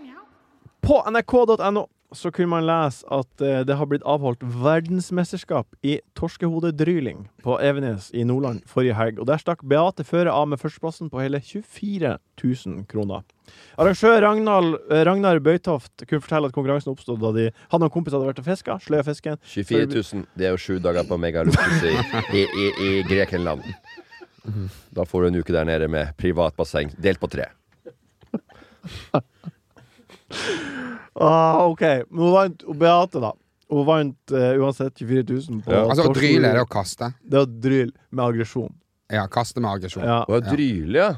På nrk.no så kunne man lese at eh, det har blitt avholdt verdensmesterskap i torskehodedryling på Evenes i Nordland forrige helg. Og der stakk Beate Føre av med førsteplassen på hele 24 000 kroner. Arrangør Ragnar, eh, Ragnar Bøytoft kunne fortelle at konkurransen oppstod da de, han og en kompis hadde vært og fiska, sløya fisken.
24 000. Det er jo sju dager på megaluksus i, i, i, i Grekenland. Da får du en uke der nede med privat basseng delt på tre.
Ah, OK. Men hun vant hun Beate, da. Hun vant eh, uansett 24 000 på
Ja.
Altså, Å
torskehode-
dryle er det å kaste.
Det er å dryle med aggresjon.
Ja, kaste med aggresjon.
Ja.
Det var drylig, ja.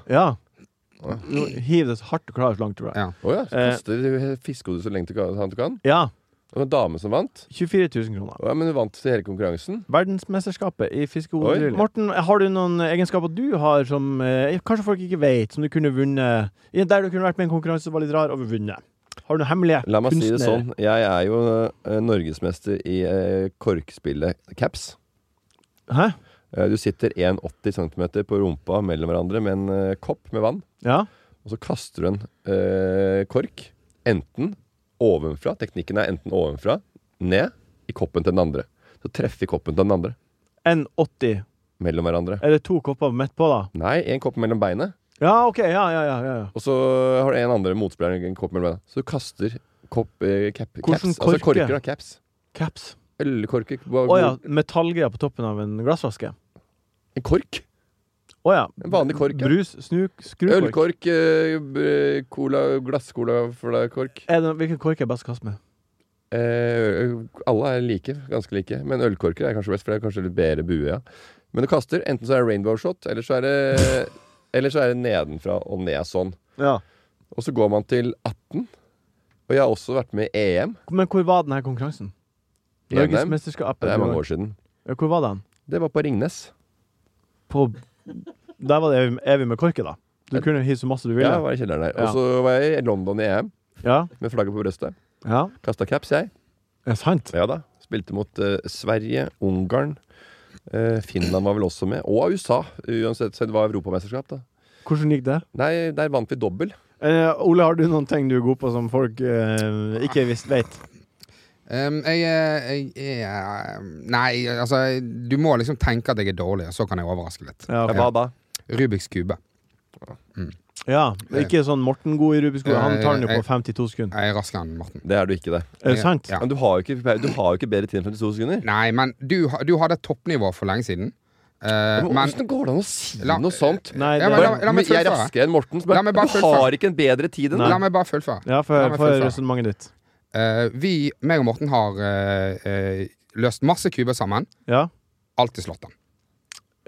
ja. Nå Hiv det så hardt du klarer så langt du klarer.
Ja.
Å ja, så kaster fiskehodet så lenge du kan. han du kan.
Ja.
Det var en dame som vant.
24 000 kroner.
Å ja, men hun vant til hele konkurransen.
Verdensmesterskapet i
Oi.
fiskehodedrylling. Morten, har du noen egenskaper du har som eh, kanskje folk ikke vet, som du kunne vunnet i- Der du kunne vært med i en konkurranse som var litt rar, og vunnet? Har du noen hemmelige
La meg si det
kunstnere?
sånn. Jeg er jo eh, norgesmester i eh, korkspillet caps.
Hæ?
Eh, Du sitter 1,80 cm på rumpa mellom hverandre med en eh, kopp med vann.
Ja?
Og så kaster du en eh, kork enten ovenfra Teknikken er enten ovenfra, ned, i koppen til den andre. Så treffer koppen til den andre
N80.
mellom hverandre.
Er det to kopper midt på, da?
Nei, en kopp mellom beinet.
Ja, OK. Ja, ja, ja. ja. ja.
Og så har du en andre motspiller en kopp mellom beina. Så du kaster kopp, eh, cap,
Hvordan
caps. Altså
korker?
korker, da. Caps.
Caps.
Ølkorker.
Å ja. Metallgreier på toppen av en glassvaske.
En kork.
Å ja.
En vanlig kork, ja.
Brus, snuk, skrukork.
Ølkork, eh, b- cola, glasscola for deg, kork.
Er det, hvilken kork er best å kaste med?
Eh, alle er like, ganske like. Men ølkorker er kanskje best, for det er kanskje litt bedre bue. Ja. Men du kaster. Enten så er det rainbow shot, eller så er det, eller så er det nedenfra og ned sånn.
Ja.
Og så går man til 18. Og jeg har også vært med i E EM.
Men hvor var denne konkurransen?
I NM?
Norgesmesterskapet.
Det er mange år siden.
Ja, Hvor var den?
Det var på Ringnes.
på Der var det Evy- Evy med korket, da. Du kunne hive så masse du ville.
Ja, jeg
Ja.
var i kjelleren der.
Ja.
Og så var jeg i London i EM
ja.
med flagget på brøstet. Kasta caps, jeg.
Er det sant?
Ja da. Spilte mot eh, Sverige, Ungarn. eh, Finland var vel også med. Og USA, uansett. Så det var europamesterskap, da.
Hvordan gikk det?
Nei, der vant vi dobbel.
Eh, Ole, har du noen ting du er god på som folk eh, ikke visst vet?
Um, jeg, eh, jeg er Nei, altså Du må liksom tenke at jeg er dårlig, så kan jeg overraske litt.
Ja, ok.
Hva da?
Rubiks kube.
ja. Ikke sånn Morten god i Rubiks kube. Han tar den jo
Eh, eh,
på 52 sekunder.
Jeg er raskere enn Morten.
Det er du ikke, det.
Er det sant?
Ja. Eh,
Men du har jo ikke, du har jo ikke bedre tid enn 52 sekunder.
Nei, men du, ha- du hadde toppnivå for lenge siden. Eh,
Men,
men
hvordan går det an å si
La-
noe sånt?
Nei,
Ja,
det,
men la- la meg
jeg er
fullføre.
raskere enn Morten.
La
Men
meg bare
du har ikke en bedre tid enn
la
meg.
meg bare fullføre.
ja,
La
for,
meg
for
fullføre.
resonnementet ditt.
Eh, vi, meg og Morten, har eh, eh, løst masse kuber sammen.
Ja.
Alltid slått den.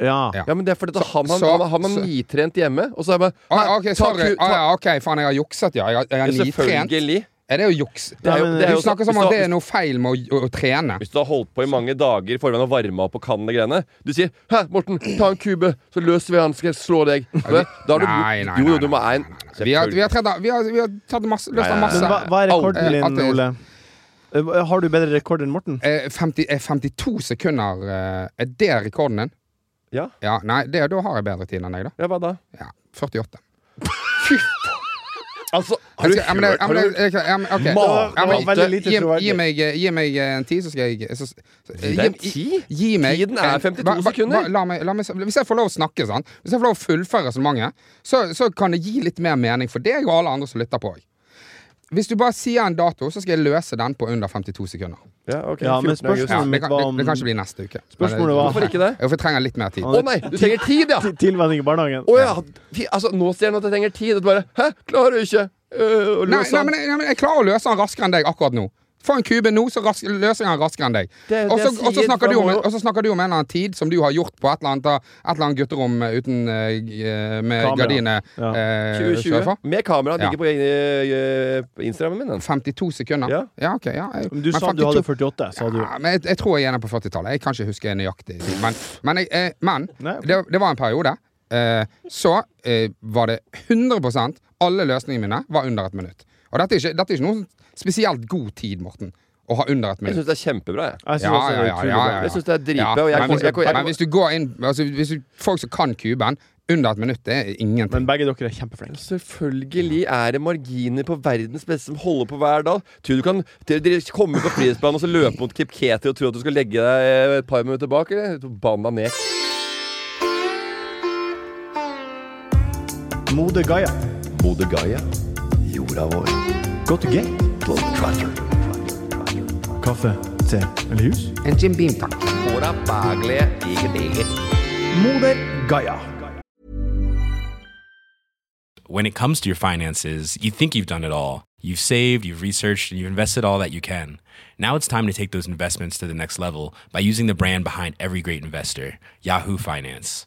Ja.
Ja.
Ja, men det er fordi at han, han,
så-
han, han
så-
er nitrent hjemme, og så er jeg bare
Ah,
Nei,
ok,
ta
sorry.
ku- ta-
Ah, ja, ok, faen, jeg har jukset, ja. Jeg, har- jeg
Ja,
er nitrent.
Selvfølgelig.
Er det å jukse?
Det er jo- det er
Du
jo-
snakker som
hvis
om
du-
det er noe feil med å, å trene.
Hvis du har holdt på i mange dager i forveien og varma opp og kan det greiene Du sier 'Hæ, Morten, ta en kube, så løser vi han, skal jeg slå deg'. Da har du
Nei, nei,
Jo,
nei,
jo, du må
nei,
en
nei, nei. Vi har, vi har, tredd, vi har, vi har tatt masse, løst
Nei,
av
nei,
masse.
Men
nei.
hva, hva er rekorden
Alt-
din,
alt-
Ole? Eh, Har du bedre rekord enn Morten?
Eh, 50, eh, 52 sekunder eh, Er det rekorden din?
Ja.
Ja, nei, det, da har jeg bedre tid enn deg, da.
Ja, hva da?
Ja, 48.
Altså, har
Jeg
du
skal, ja, men, det- ja,
har
men,
du-
det- jeg- ja, men, ok.
Mal-
Ja, men,
det var veldig
lite
gi,
troverdig.
gi, meg, eh, gi meg eh, en tid, så skal jeg så, så,
Gi deg en
gi-
tid?
Gi meg
Tiden er
en-
52
hva- hva-
sekunder.
hva- la meg, la meg, hvis jeg får lov å snakke, sant? hvis jeg får lov å fullføre resonnementet, så, så kan det gi litt mer mening for deg og alle andre som lytter på. Hvis du bare sier en dato, så skal jeg løse den på under 52 sekunder.
Ja, ok.
Ja, men
14. august.
Ja,
spørsmålet-
det, kan, det, det kan
Hva om-
ikke bli neste uke.
Spørsmålet var-
Hvorfor ikke det?
Jo, for jeg trenger litt mer tid.
Å nei, du trenger tid, ja!
Til- Tilvenning i barnehagen?
Å ja! Fy, altså, nå ser han at jeg trenger tid. Og du bare 'Hæ, klarer du ikke øh, å
Nei,
løse
nei,
han?"
men, jeg- nei, men jeg klarer å løse den raskere enn deg akkurat nå. Få en kube nå, så rask, løser jeg den raskere enn deg.
Det er jo
Og
det
så
jeg
og så
sier,
snakker,
for
du om
da
en-
må-
og så snakker du om en eller annen tid som du har gjort på et eller annet, et eller annet gutterom eh, uten eh, g- eh, med
Kamera.
gardiner.
Ja.
eh,
2020.
sørfor.
Med kamera.
Ja.
Ligger på eh, eh, Instagrammen min. Den.
52 sekunder.
Ja.
ok. Ja, jeg,
Men Du sa du
52
hadde 48, sa du.
ja, men jeg, jeg tror jeg er nede på 40-tallet. Jeg kan ikke huske nøyaktig. tid, Men, men, jeg, eh, men
Nei.
det, det var en periode. Eh, så eh, var det 100 Alle løsningene mine var under et minutt. Og dette er ikke, dette er ikke noen spesielt god tid, Morten, å ha under et
Jeg syns
minutt.
det er kjempebra.
Jeg
Jeg,
synes også det er utrolig bra.
Jeg synes det er dritbra, og jeg-
men, hvis,
jeg- jeg-
men hvis du går inn altså, hvis du, Folk som kan kuben, under et minutt, det er ingenting.
Men begge dere er kjempeflinke.
Selvfølgelig er det marginer på verdens beste som holder på hver dag. Tror du kan Dere dere kommer på frihetsbanen og så løpe mot Kipketi og tro at du skal legge deg eh, et par minutter bak? Eller? Banna nek.
Mode Gaia.
Bodø Gaia. Jorda vår.
Godt og gay. Kaffe, te eller jus?
En Jim Beam, takk.
Jorda bagle, ikke deger.
Mode Gaia.
When it comes to your finances, you think you've done it all. You've saved, you've researched, and you've invested all that you can. Now it's time to take those investments to the next level by using the brand behind every great investor, Yahoo Finance.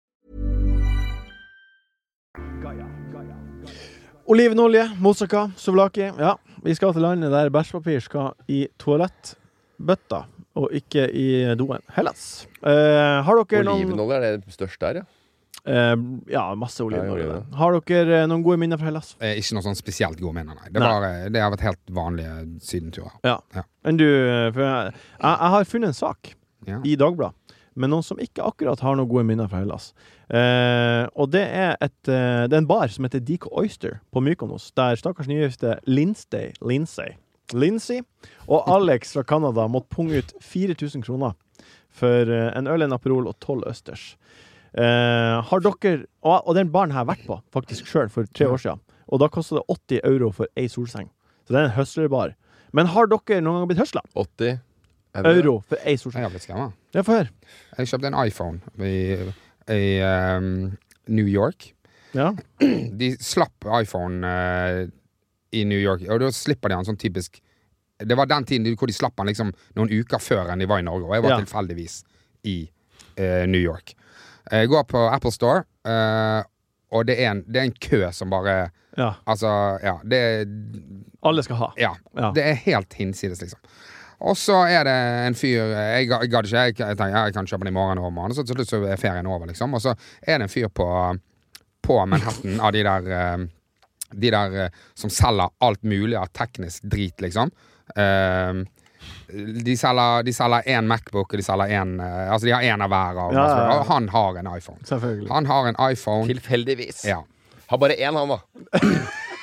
Olivenolje, moussaka, souvlaki. Ja, vi skal til landet der bæsjpapir skal i toalettbøtta, og ikke i doen. Hellas. Eh, har dere noen
Olivenolje er det største der, ja.
Eh, ja, masse
Ja,
olivenolje.
gjør
der. Har dere eh, noen gode minner fra Hellas?
Eh, Ikke noe sånn spesielt gode minner, nei. Det,
Nei.
var, eh, det har vært helt vanlige sydenturer.
Ja.
Ja.
Enn du? eh, For jeg, jeg, jeg har funnet en sak
Ja.
i Dagbladet med noen som ikke akkurat har noen gode minner fra Hellas. Eh, og det er, et, eh, det er en bar som heter Deek Oyster på Mykonos, der stakkars nygifte Lindsay Lindsay Lindsay og Alex fra Canada måtte punge ut 4000 kroner for eh, en øl, en Aperol og tolv østers. Eh, har dere Og, og den baren har jeg vært på faktisk sjøl for tre år siden. Og da kosta det 80 euro for ei solseng. Så det er en høslerbar. Men har dere noen gang blitt høsla?
80
Euro for ei solseng?
Jeg har blitt skremmet.
Ja, få høre.
Jeg kjøpte en iPhone i, i ehm, New York.
Ja.
De slapp iPhone eh, i New York, og da slipper de han sånn typisk Det var den tiden hvor de slapp han liksom noen uker før enn de var i Norge, og jeg var
Ja.
tilfeldigvis i eh, New York. Jeg går på Apple Store, eh, og det er, en, det er en kø som bare
ja.
Altså, ja. Det er
Alle skal ha.
ja.
Ja.
Det er helt hinsides, liksom. Og så er det en fyr Jeg ga- jeg gadd ikke. Jeg, jeg tenkte ja, jeg kan kjøpe den i morgen. Og morgen. Så til slutt så er ferien over, liksom. Og så er det en fyr på, på Manhattan av de der eh, De der eh, som selger alt mulig av teknisk drit, liksom. Eh, de selger, de selger én Macbook, og de selger én eh, Altså, de har én av hver. Og,
Ja, ja, ja.
og han har en iPhone.
Selvfølgelig.
Han har en iPhone.
Tilfeldigvis.
Ja.
Har bare én, han, da.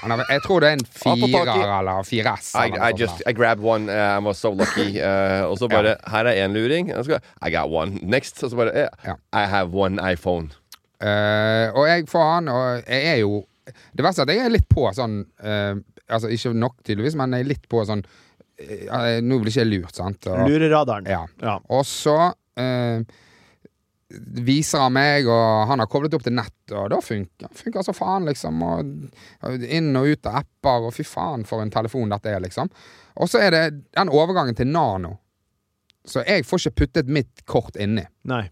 Han har, jeg tror det er en
på tak i-
firer eller 4S.
I,
eller noe
I
sånt
just
der.
I grabbed one. Uh, I was so lucky. Uh, og så bare Her er én luring. Og så skal jeg, I got one. Next. Og så bare eh,
Ja.
I have one iPhone.
Eh, og jeg får han, og jeg er jo Det verste er at jeg er litt på sånn eh, Altså ikke nok, tydeligvis, men jeg er litt på sånn eh, Nå blir ikke jeg lurt, sant? Og,
Lureradaren.
Ja. Og så eh, viser han meg, og han har koblet opp til nett, og da funker funker så faen, liksom. Og inn og ut av apper, og fy faen for en telefon dette er, liksom. Og så er det den overgangen til Nano. Så jeg får ikke puttet mitt kort inni.
Nei.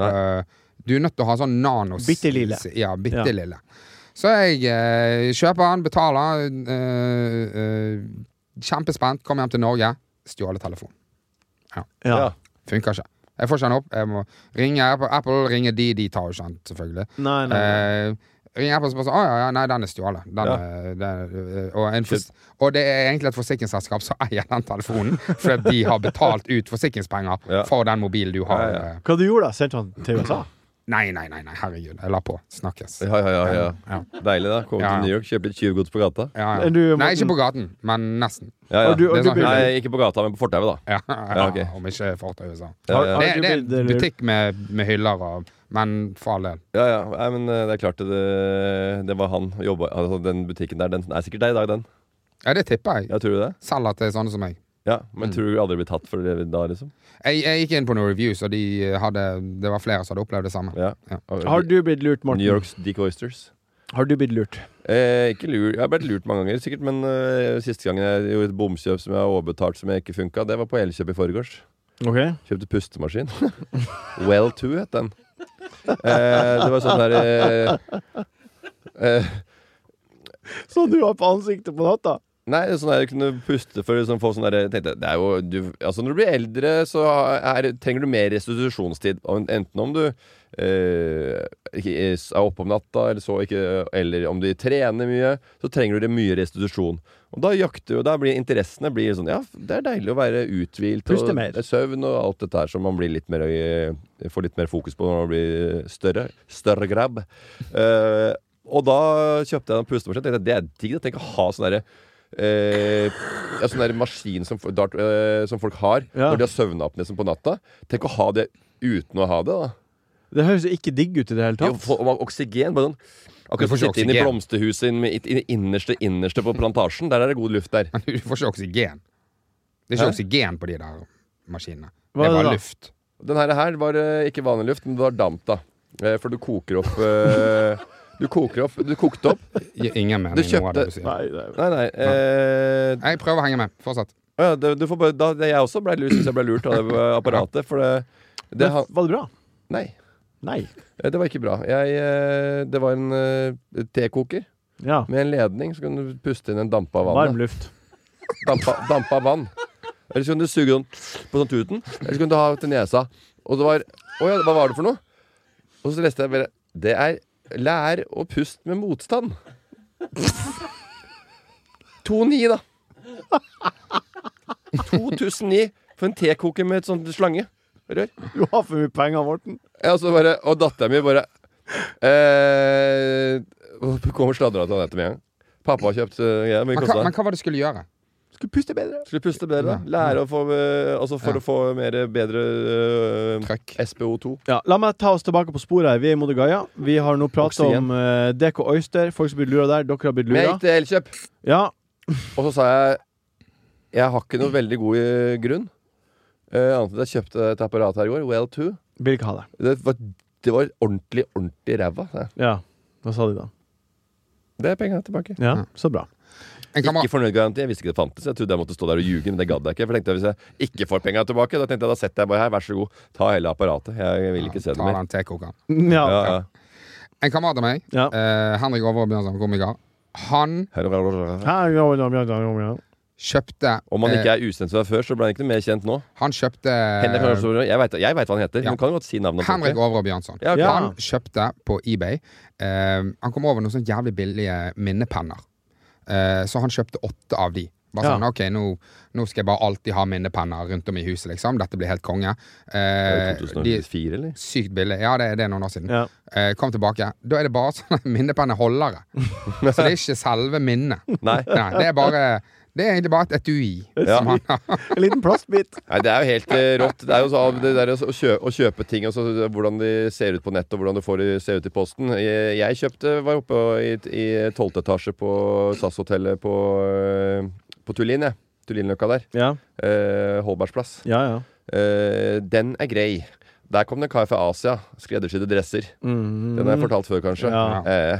Nei.
Eh, du er nødt til å ha sånn nanos...
Bitte lille.
Ja, bitte
Ja.
lille. Så jeg eh, kjøper den, betaler. eh, eh, kjempespent. Kommer hjem til Norge. Stjålet telefon.
Ja.
Ja.
Funker ikke. Jeg får ikke den opp. Jeg må ringe Apple, Apple ringer de, de tar jo ikke den, selvfølgelig.
Nei, nei. nei.
Eh, ringer Apple og spør sånn Å ja, ja, nei, den er stjålet. Den,
Ja.
er- den, er- og, en fors- og det er egentlig et forsikringsselskap som eier den telefonen, fordi de har betalt ut forsikringspenger
Ja.
for den mobilen du har.
Ja, ja.
eh,
Hva du gjorde da? Sendte han til USA?
Nei, nei, nei, nei, herregud. Jeg la på. Snakkes.
Ja, ja, ja, ja.
Ja.
Deilig, da. Komme
Ja, ja.
til New York, kjøpe litt tjuvgods på gata.
Ja, ja.
Er du,
Nei,
Morten?
ikke på gaten, men nesten.
Ja, ja.
Og du, og
Det
du
snakker
blir-
Nei, ikke på gata, men på fortauet, da.
Ja,
ok.
Om ikke Fort USA.
Ja,
Har-
ja.
har-
eh,
du
Det,
blitt-
det er en butikk med, med hyller og Men for all del.
Ja, ja. Nei, men eh, det er klart det, det var han jobba altså, Den butikken der, den er sikkert deg i dag, den.
Ja, det tipper jeg.
Ja, tror du det?
Selger til sånne som meg.
Ja, Men tror du aldri blir tatt for det da, liksom?
Jeg, jeg gikk inn på noen reviews, og de hadde, det var flere som hadde opplevd det samme.
Ja.
Ja.
Har du blitt lurt, Morten?
New Yorks Dick Oysters.
Har du blitt lurt?
Eh, ikke lur. Jeg har blitt lurt mange ganger, sikkert, men eh, siste gangen jeg gjorde et bomkjøp som jeg har overbetalt som jeg ikke funka, det var på Elkjøp i forgårs.
Ok.
Kjøpte pustemaskin. well to, het den. Eh, det var sånn der eh, eh,
Så du var på ansiktet på natta?
Nei, sånn der jeg kunne puste for liksom, få sånn der jeg tenkte, det er jo, du, altså Når du blir eldre, så er, trenger du mer restitusjonstid. om- Enten om du eh, ikke er er oppe om natta, eller, så ikke, eller om du trener mye, så trenger du det mye restitusjon. Og da jakter jo, da blir interessene blir sånn Ja, det er deilig å være uthvilt.
Puste
Og
mer.
søvn og alt dette her som man blir litt mer, eh, får litt mer fokus på når man blir større. Større grabb. Eh, og da kjøpte jeg en pustemaskin. Tenkte jeg, Det er digg. da. Tenk å ha sånn derre Eh, ja, sånn der maskin som, fo- dart, eh, som folk har
Ja.
når de har søvna opp nesten på natta. Tenk å ha det uten å ha det. da
Det høres jo ikke digg ut i det hele
Jo,
tatt.
få- og Oksygen. Bare sånn
Du
Akkurat
får
som å
ikke
sitte inn i
oksygen.
blomsterhuset inn i i det innerste innerste på plantasjen. Der er det god luft. der
Men du får ikke oksygen. Det er ikke
Hæ?
oksygen på de der maskinene.
Hva er
det er
det da?
bare luft.
Den her, her var eh, ikke vanlig luft, men det var damp, da. Eh, For du koker opp eh, Du koker opp Du kokte opp.
Gir ingen mening.
Du
noe av det
kjøpte-
du sier.
Nei, det er...
Nei, nei. eh,
Jeg prøver å henge med. Fortsett.
å ja, det, du får bare, da, det, jeg også ble lurt, synes jeg ble lurt av det eh, apparatet. For det, det
Men
han-
Var det bra?
Nei.
Nei.
eh, Det var ikke bra. Jeg, eh, det var en eh, tekoker
Ja.
med en ledning. Så kunne du puste inn en dampa av vann.
Varm luft.
Dampa, dampa av vann. Eller så kunne du suge sånn på sånn tuten. Eller så kunne du ha til nesa. Og det var Å ja, hva var det for noe? Og så leste jeg bare Det er lær å puste med motstand. 2,9, da. 2009 for en tekoker med et sånt slange. Rør.
Du har for mye penger, Morten.
Ja, så bare, og datteren min bare eh, Kommer sladra til Anette med en gang. Pappa har kjøpt eh, greier. Men
Men
det
hva,
kosta
men hva var det du skulle gjøre?
Skulle puste bedre.
Skulle puste bedre. da. Lære å få eh, Altså for
Ja.
å få mer bedre eh,
Trøkk.
SPO2.
Ja, La meg ta oss tilbake på sporet. her. Vi er i Modigaya. Vi har nå pratet
Oksygen.
om eh, DK Oyster. Folk som blir lura der. Dere har blitt
Men jeg
lura.
gikk til Elkjøp,
Ja.
og så sa jeg Jeg har ikke noe veldig god eh, grunn. Eh, annet enn at jeg kjøpte et apparat her i går. Well 2.
Vil ikke ha det.
Det var, det var ordentlig, ordentlig ræva. sa jeg.
Ja. Hva sa de da?
Det er pengene tilbake.
Ja,
Mm.
så bra.
En kamerat
Ikke fornøyd-garanti. Jeg visste ikke det fantes. Jeg trodde jeg måtte stå der og ljuge, men det gadd jeg ikke. For jeg tenkte Hvis jeg ikke får penga tilbake, da tenkte jeg da setter jeg bare her, vær så god, ta hele apparatet. Jeg vil ikke se det
tar
mer.
den tekokeren.
Ja.
Ja, ja.
En kamerat av meg,
Ja.
eh, Henrik Overå Bjørnson, komiker, han
Her, ja, ja, ja, ja, ja.
kjøpte
Om han
eh,
ikke er usensuell før, så ble han ikke noe mer kjent nå.
Han kjøpte
Henrik Hørstorg, Jeg veit jeg vet hva han heter.
Ja.
Men kan jo godt si navnet. på
Henrik
ordentlig.
Overå Bjørnson.
Ja, ok.
Ja.
Han kjøpte på eBay eh, Han kom over noen sånn jævlig billige minnepenner. Eh, så han kjøpte åtte av de. Bare
Ja.
sånn, ok, nå, nå skal jeg bare alltid ha minnepenner rundt om i huset, liksom. Dette blir helt konge. Eh, de,
2004, eller?
sykt billig. Ja, det, det er noen år siden.
Ja.
Eh, kom tilbake. Da er det bare sånne minnepenneholdere. Så det er ikke selve minnet.
Nei.
Nei, det er bare Det er egentlig bare et etui.
Ja.
Som han har.
En liten plastbit.
Nei, det er jo helt eh, rått. Det er jo så, det der å kjøpe, å kjøpe ting, og så hvordan de ser ut på nett, og hvordan du får de ser ut i posten. Jeg, jeg kjøpte, var oppe i, i 12. etasje på SAS-hotellet på, eh, på Tullin, jeg. Tullinløkka der.
Ja,
Eh, Holbergsplass.
ja. ja.
Eh, den er grei. Der kom det en kar fra Asia. Skreddersydde dresser. Den har jeg fortalt før, kanskje.
Mm. Ja.
Eh,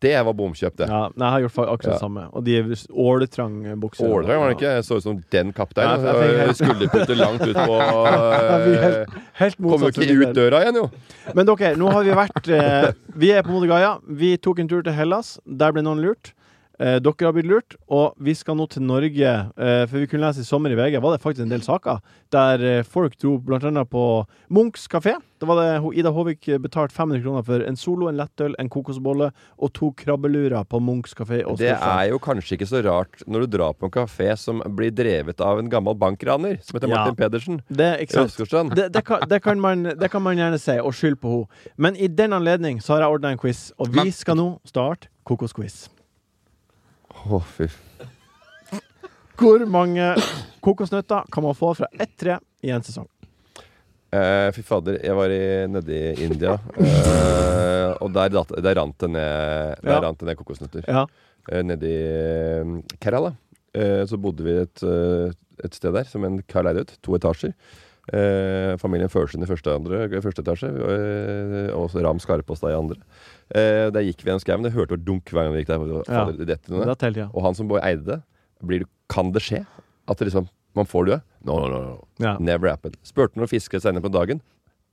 det var bomkjøpt, det.
ja nei, jeg har gjort fa- akkurat det
Ja.
samme. Og de åletrang bukser.
Åldrag var det ikke. Jeg så ut som den kapteinen.
Nei, jeg tenker-
og Skulderputter langt ut på
Ja, vi er
eh,
helt, helt
Kommer
motsatt.
jo ikke ut døra igjen, jo.
Men dere, nå har vi vært eh, Vi er på Modegaia. Vi tok en tur til Hellas. Der ble noen lurt. Eh, dere har blitt lurt, og vi skal nå til Norge. Eh, for vi kunne lese i sommer i VG var det faktisk en del saker der eh, folk dro bl.a. på Munchs kafé. Da var det ho- Ida Håvik betalte 500 kroner for en Solo, en lettøl, en kokosbolle og to krabbelurer på Munchs kafé. Og
Det
Storsand.
er jo kanskje ikke så rart når du drar på en kafé som blir drevet av en gammel bankraner som heter
Ja.
Martin Pedersen. sånn.
det, er
I
ikke sant?
Åsgårdstrand.
Det, det, kan, det, kan man, det kan man gjerne si, og skyld på henne. Men i den anledning så har jeg ordna en quiz, og vi
Men-
skal nå starte kokosquiz.
Å, fy.
Hvor mange kokosnøtter kan man få fra ett tre i en sesong?
Eh, fy fader, jeg var i, nede i India, eh, og der, datt, der rant det ned, der
Ja.
rant det ned kokosnøtter.
Ja.
Eh, nede i eh, Kerala eh, så bodde vi et, eh, et sted der som en kar leide ut. To etasjer. Eh, familien Førsund i første, andre, første etasje, eh, og så Ram Skarpaas da i andre. Eh, der gikk vi gjennom skauen. Det hørte dunk hver gang vi gikk der.
Ja.
Fader, det detter noe ned.
Da teller jeg.
Og han som bare eide det, blir, det- kan det skje? At det liksom, man får det? No, no, no, no.
Ja.
Never happened. Spurte noen fiskere senere på dagen.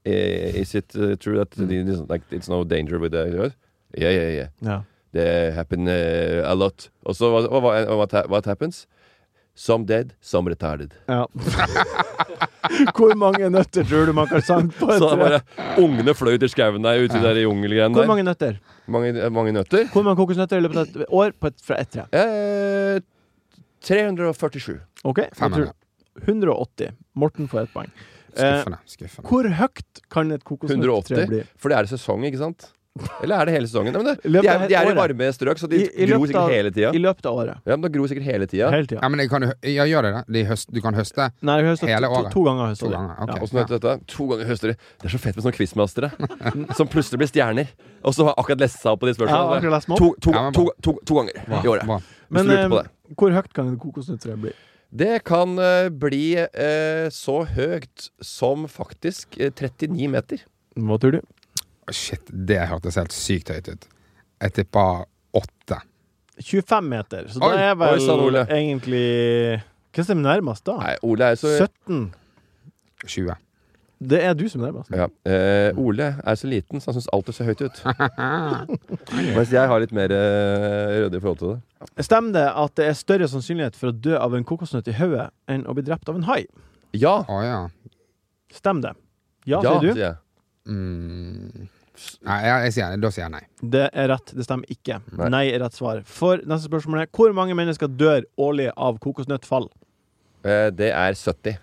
Eh, Is it uh, true that
Mm.
the- this- like, it's no danger with the earth? Yeah, yeah, yeah.
Ja.
They happen uh, a lot. Og så hva- hva- hva- what, ha- what happens? Some dead, some retarded.
Ja. Hvor mange nøtter tror du man kan sanke på et
Så da
tre?
bare ungene fløy til skauen der ute der i jungelgreiene
Hvor
der.
mange nøtter?
Mange, eh, mange nøtter?
Hvor mange kokosnøtter i løpet av et år på et, fra ett tre?
Eh, 347.
Ok? jeg tror-
500.
180. Morten får ett poeng. Eh,
Skuffende. skuffende.
hvor høyt kan et kokosnøttre
180?
bli?
For det er sesong, ikke sant? Eller er det hele sesongen? Nei, men
I
det,
løpet
de
av
er, de er i
året.
varme strøk, så de
I- i
gror
løpet av-
sikkert hele tida.
I løpet av året.
Ja, men de gror sikkert hele tida.
Hele
Ja,
tida.
men jeg kan, jo hø- ja, gjør det, da. De høst, du kan høste
Nei, vi høstet
Hele
to,
året.
to ganger. høstet
to
vi.
ganger.
Ja.
Ok.
Åssen heter Sånn dette? To ganger høster de. Det er så fett med sånne quizmastere som plutselig blir stjerner. Og så har akkurat lest seg opp på de
Jeg har
spørsmålene.
akkurat lest meg opp.
To, to,
Ja, men
to,
bra.
to, to ganger
Bra,
i året.
bra.
Hvis
Men
du lurte på
eh,
det.
hvor høyt kan et kokosnøttre bli?
Det kan eh, bli eh, så høyt som faktisk eh, 39 meter.
Hva tror du?
Å, Shit, det hørtes helt sykt høyt ut. Jeg tipper åtte.
25 meter. Så
Oi,
da er
oi,
vel
sann, Ole.
egentlig Hvem som er nærmest da?
Nei, Ole er så
17.
20.
Det er du som er nærmest.
Ja. Eh, Ole er så liten, så han syns alltid ser høyt ut. Mens jeg har litt mer eh, røde i forhold til det.
Stemmer det at det er større sannsynlighet for å dø av en kokosnøtt i hodet enn å bli drept av en hai?
Ja!
Å ja.
Stemmer det? Ja,
ja,
sier du.
sier jeg.
Mm. Nei, jeg, jeg sier, da sier jeg nei.
Det er rett. Det stemmer ikke.
Nei.
Nei, er rett svar. For neste spørsmål er hvor mange mennesker dør årlig av kokosnøttfall?
Eh, det er 70.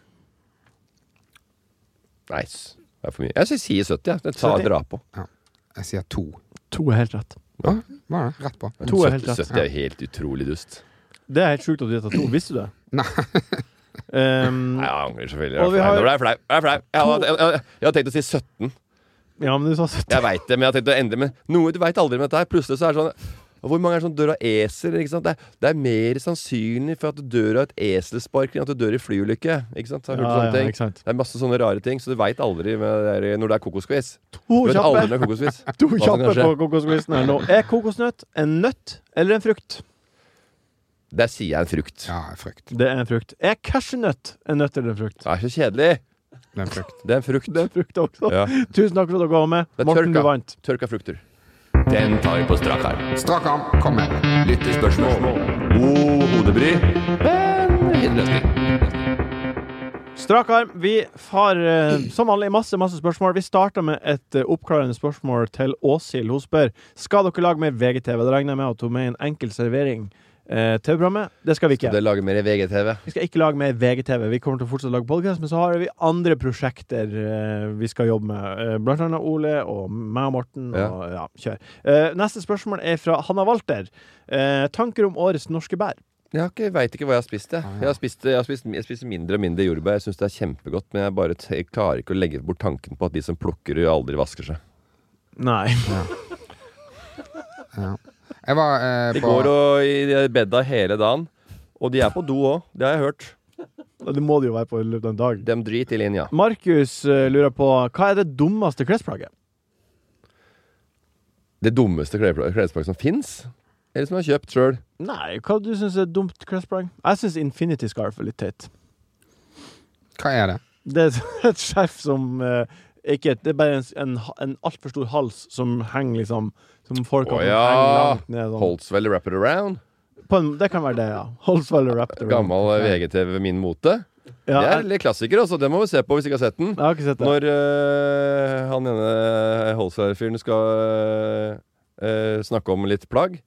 Nei, s- det er for mye. Jeg syns sier 70. Jeg. Det tar
70.
jeg dra på.
Jeg sier to.
To er helt rett.
Var det? Rett på.
Men
To er helt
70
rett.
70 er helt utrolig dust.
Det er helt sjukt at du gjetta to. Visste du det?
Nei.
Um,
Nei, jeg angrer selvfølgelig.
Og vi
Jeg
har-
er flau. Nå ble jeg flau. Jeg er flau. Jeg hadde- jeg- jeg- jeg hadde tenkt å si 17.
ja, men du sa 70.
Jeg veit det, men jeg har tenkt å endre Men noe du veit aldri med dette her. Plutselig så er det sånn hvor mange er det som dør av esel? Ikke sant? Det, er, det er mer sannsynlig for at du dør av et eselspark enn at du dør i flyulykke. Ikke sant? Så jeg har hørt
Ja,
sånne
ja,
ting.
ikke sant.
Det er masse sånne rare ting, så du veit aldri med det der, når det er kokosquiz.
To
Du vet
kjappe.
aldri når det er kokosquiz.
To
Hva som
kjappe
kan
på
skje.
kokosquizen her nå. Er kokosnøtt en nøtt eller en frukt?
Der sier jeg en frukt.
Ja, frukt.
Det er en frukt. Er cashewnøtt en nøtt eller en frukt?
Det er så kjedelig.
Det er en frukt.
Det er en frukt.
Det er en frukt også.
Ja.
Tusen takk for at dere var med.
Det er
Morten,
tørka.
du vant.
Tørka frukter. Den tar vi på strak arm.
Strak arm. Kom med.
Lyttespørsmål. God hodebry.
Strak arm. Vi har eh, som vanlig masse masse spørsmål. Vi starter med et eh, oppklarende spørsmål til Åshild. Hun spør skal dere lage mer VGTV. Da regner jeg med at hun mener enkel servering eh, TV-programmet. Det skal vi ikke.
Det lager mer i VGTV.
Vi skal ikke lage mer VGTV. Vi kommer til å fortsette å lage podkast, men så har vi andre prosjekter eh, vi skal jobbe med. Eh, blant annet Ole og meg og Morten.
Ja.
Og, ja, kjør. Eh, neste spørsmål er fra Hanna Walter. Eh, tanker om årets norske bær?
Jeg har ikke, veit ikke hva jeg har spist.
Ah,
Jeg, jeg, har spist, jeg, har spist, jeg spiser mindre og mindre jordbær. Jeg syns det er kjempegodt, men jeg bare t jeg klarer ikke å legge bort tanken på at de som plukker det, aldri vasker seg.
Nei.
Jeg var eh,
De
på
går og i bedda hele dagen, og de er på do òg. Det har jeg hørt.
Det må det jo være på i løpet av en dag.
De driter i linja.
Markus eh, lurer på hva er det dummeste klesplagget?
Det dummeste klespla- klesplagget som fins, eller som jeg har kjøpt sjøl.
Nei, hva du syns er et dumt klesplagg? Jeg syns Infinity Scarf er litt teit.
Hva er det?
Det er et skjerf som eh, ikke, Det er bare en, en, en altfor stor hals som henger liksom Som folk
Å
kan
ja!
henge langt ned. Sånn.
Holtzwell Wrap It Around.
På en, det kan være det, ja. Holdswell og Raptor.
Gammel eh, VGTV Min Mote.
Ja,
Det er
jeg,
litt klassiker, altså. Det må vi se på hvis ikke har sett den.
jeg har ikke sett det.
Når øh, han ene Holsvær-fyren skal øh, øh, snakke om litt plagg,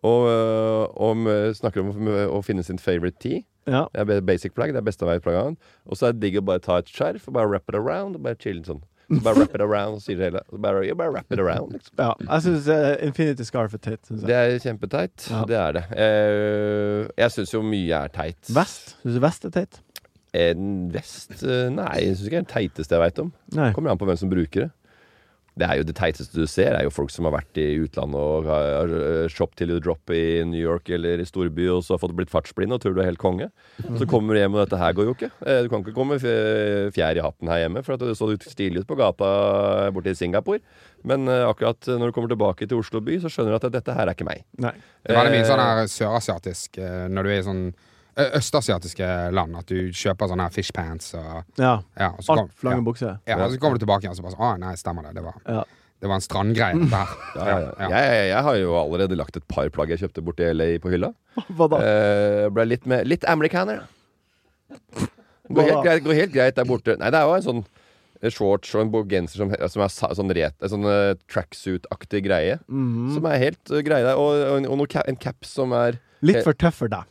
og øh, om, øh, snakker om å, å finne sin favorite tea
Ja.
Det er ba- basic plagg, det er beste vei plagg han. Og så er det digg å bare ta et skjerf og bare wrap it around og bare chille sånn. Så Bare wrap it around og sier det hele. Så Bare, ja, bare wrap it around, liksom.
Ja, jeg syns Infinity Scarf er teit. Synes
Det
jeg.
er kjempeteit.
Ja.
Det er det. Eh, jeg syns jo mye er teit.
Vest? Syns du vest er teit?
En vest? Eh, Nei, jeg syns ikke det er det teiteste jeg veit om.
Nei.
Kommer an på hvem som bruker det. Det er jo det teiteste du ser, er jo folk som har vært i utlandet og har eh, shop til you drop i New York eller i storby, og så har fått blitt fartsblind og tror du er helt konge. Så kommer du hjem, og dette her går jo ikke. Eh, Du kan ikke komme f- fjær i hatten her hjemme, for at du så stilig ut på gata eh, borte i Singapore. Men eh, akkurat når du kommer tilbake til Oslo by, så skjønner du at dette her er ikke meg.
Nei.
Det var mye
Eh,
sånn her sørasiatisk eh, Når du er i sånn ø- østasiatiske land, at du kjøper sånne her fish pants og
Ja.
ja, og så kom-
Alt flange
ja.
bukse.
Ja, og så kommer du tilbake igjen og så bare sånn Å, nei, stemmer det. Det var,
Ja.
det var en strandgreie, dette her.
Ja, ja, ja. Jeg, jeg, jeg har jo allerede lagt et par plagg jeg kjøpte borti LA på hylla.
Hva da?
Eh, ble litt, med, litt amerikaner, da. Går
Hva
helt,
da?
greit, går helt greit der borte. Nei, det er jo en sånn eh, shorts og en bo- genser som, som er sa- sånn, ret- eh, sånn eh, tracksuit-aktig greie.
Mhm.
Som er helt eh, greie der. Og, og, en- og noe ca- en cap som er
Litt for tøff for deg.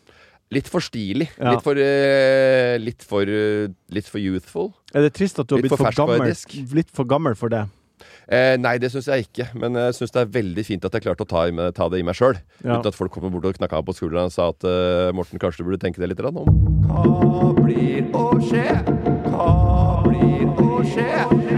litt for stilig.
Ja.
Litt, for, eh, litt, for, eh, litt for youthful.
Er det trist at du har
Litt
blitt
for
for
fersk på en
gammel,
disk.
litt for gammel for det?
Eh, nei, det syns jeg ikke. Men jeg syns det er veldig fint at jeg klarte å ta, i meg, ta det i meg sjøl.
Ja.
Uten at folk kommer bort og knakka på skuldra og sa at eh, Morten, kanskje du burde tenke deg litt grann om. Hva blir å skje? Hva blir å skje?